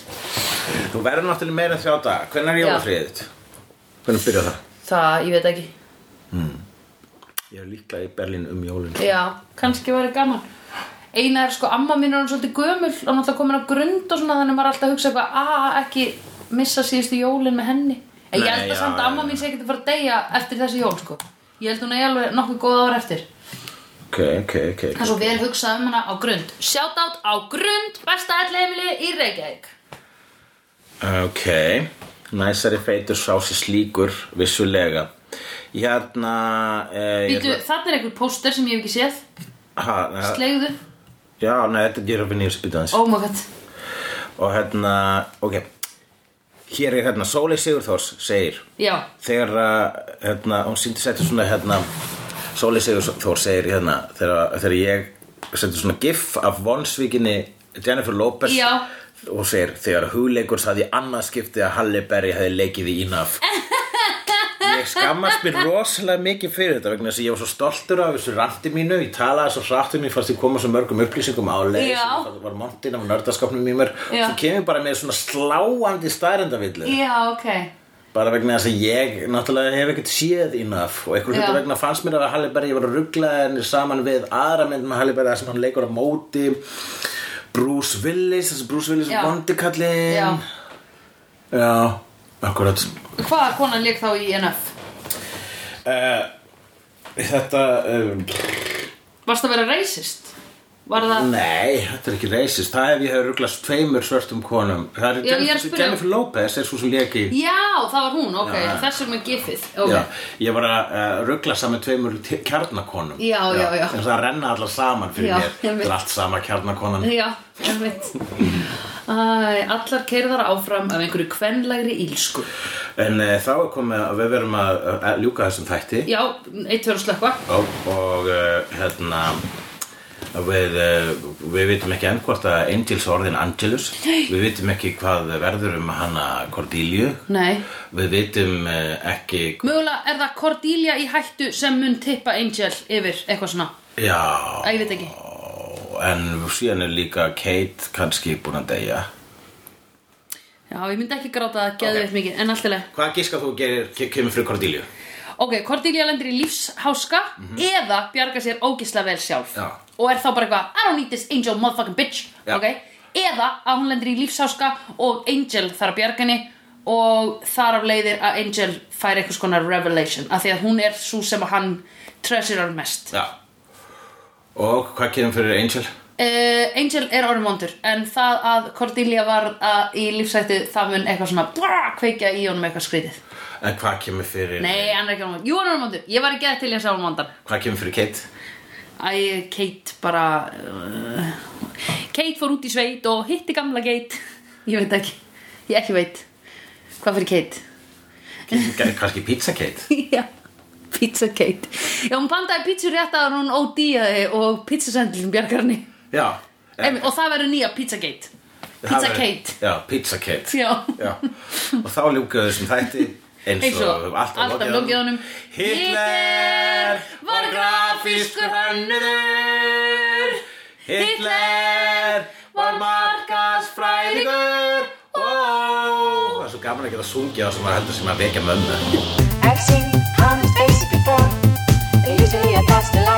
Þú verður náttúrulega meira en þrjá daga hvernig er
Já.
jólafriðið þitt? Hvernig byrjar það?
Það, ég veit ekki
Ég er líklega í Berlín um jólun
Já, kannski væri gaman Eina er sko, amma mín er hann svolítið gömul og náttúrulega komin á grund og svona þannig maður er alltaf að hugsa eitthvað að ekki missa síðustu jólin með henni En ég
Nei,
held
já,
að samt
já,
að amma
já.
mín sé ekkert að fara að deyja eftir þessi jól sko Ég held hún að ég alveg nokkuð góð ár eftir
Ok, ok, ok
Það er svo vel hugsað um hana á grund Shoutout á grund, besta ætlaheimili í Reykjavík
Ok, næsari feitur sá sér slíkur vissulega Hérna eh, ég
Býtu, þarna er einhver póster sem ég hef ekki séð
ætla- ha, eh,
Slegðu,
Já, nei, þetta ég er að finna í þessu býtu aðeins
oh my god
Og hérna, ok Hér er hérna, Sólei Sigurþórs segir
Já,
þegar uh, hérna, hún sýndi setja svona hérna, Sóli Sigurþór segir hérna, þegar, þegar ég setja svona gif af vonsvíkinni Jennifer Lopez
Já.
og segir þegar hugleikur sagði í annað skipti að Halle Berry hefði leikið í ínaf ég skammast mér rosalega mikið fyrir þetta vegna þess að ég var svo stoltur af þessu ranti mínu ég talaði svo hratt um, ég fannst ég koma svo mörgum upplýsingum áleið
Já.
það var montinn af nördaskapnum í mér
Já.
svo kemur bara með svona sláandi stærendavillu
já, ok
bara vegna þess að ég náttúrulega hef ekkert séð enough og einhver hluta
Já.
vegna fannst mér að Halle Berry ég var að ruggla henni saman við aðra mynd með Halle Berry þar sem hann leikur á móti Bruce Willis þessi Bruce Willis
Já.
er vondikallin
Já.
já, akkurat
Hvaða konan leik þá í NF?
uh, þetta um,
Varst það að vera racist? Var það,
nei, þetta er ekki racist það hef ég hef rugglast tveimur svörtum konum það er
Já, ég er að
Jennifer,
spyrja.
Jennifer Lopez er svo sem leiki
já, það var hún, ok
Já.
Þess er með gifið, ok
Já, ég var að uh, ruggla saman tveimur t- kjarnakonum
Já, já, já.
En það renna allar saman fyrir
Já,
mér
einmitt.
Það er allt sama kjarnakonan
Já, ég veit Æ, allar keirðar áfram af einhverju kvenlægri ílsku
En uh, þá er komið að við verum að uh, ljúka þessum þætti
Já, eitt verður slökva
Og, og uh, hérna Við, uh, við vitum ekki enn hvort að Angels orðin Angelus Við vitum ekki hvað verður um hana Cordelia
Nei
Við vitum uh, ekki
Mögulega er það Cordelia í hættu sem mun tippa Angel yfir eitthvað svona
Já,
Æ, ég veit ekki
en síðan er líka Kate kannski búin að deyja
Já, ég myndi ekki gráta það, geðu
Ok.
veit mikið, en alltilega
Hvað gískað þú gerir, ke- kemur fyrir Cordelia?
Ok, Cordelia lendir í lífsháska eða bjargar sér ógislega vel sjálf
Mhm. Já.
og er þá bara eitthvað I don't need this angel motherfucking bitch
Já.
ok, eða að hún lendir í lífsháska og Angel þarf að bjarga henni og þar af leiðir að Angel fær eitthvað skona revelation af því að hún er svo sem að hann treasurar mest
Já Og hvað kemur fyrir Angel?
uh, Angel er orðin vondur en það að Cordelia var að, í lífsættu það mun eitthvað svona bla, kveikja í honum eitthvað skrítið
En hvað kemur fyrir
Nei, hann er ekki orðin vondur Jú, hann er orðin vondur, ég var ekki að til ég sá hann vondan
Hvað kemur fyrir Kate?
Æ, Kate bara uh, Kate fór út í sveit og hitti gamla Kate Ég veit ekki, ég ekki veit Hvað fyrir Kate?
Kemur kannski Pizza Kate?
Já, pizza Kate Já, hún pantaði pizza rétt að hún OD-aði og pizzasendlum bjargarni
Já
Emi, Og það verður nýja pizza Kate
Það
Pizza
verður-
Kate
Já, Pizza Kate
Já,
Já Og þá ljúkaðu þessum þætti eins
eins
og
og alltaf lokið honum
Hitler var grafískur hönnuður Hitler var markasfræðingur Ó, Það er svo gaman að geta sungið á sem maður heldur sem að vekja mömmu
I've seen honest faces before. They're usually a past alive.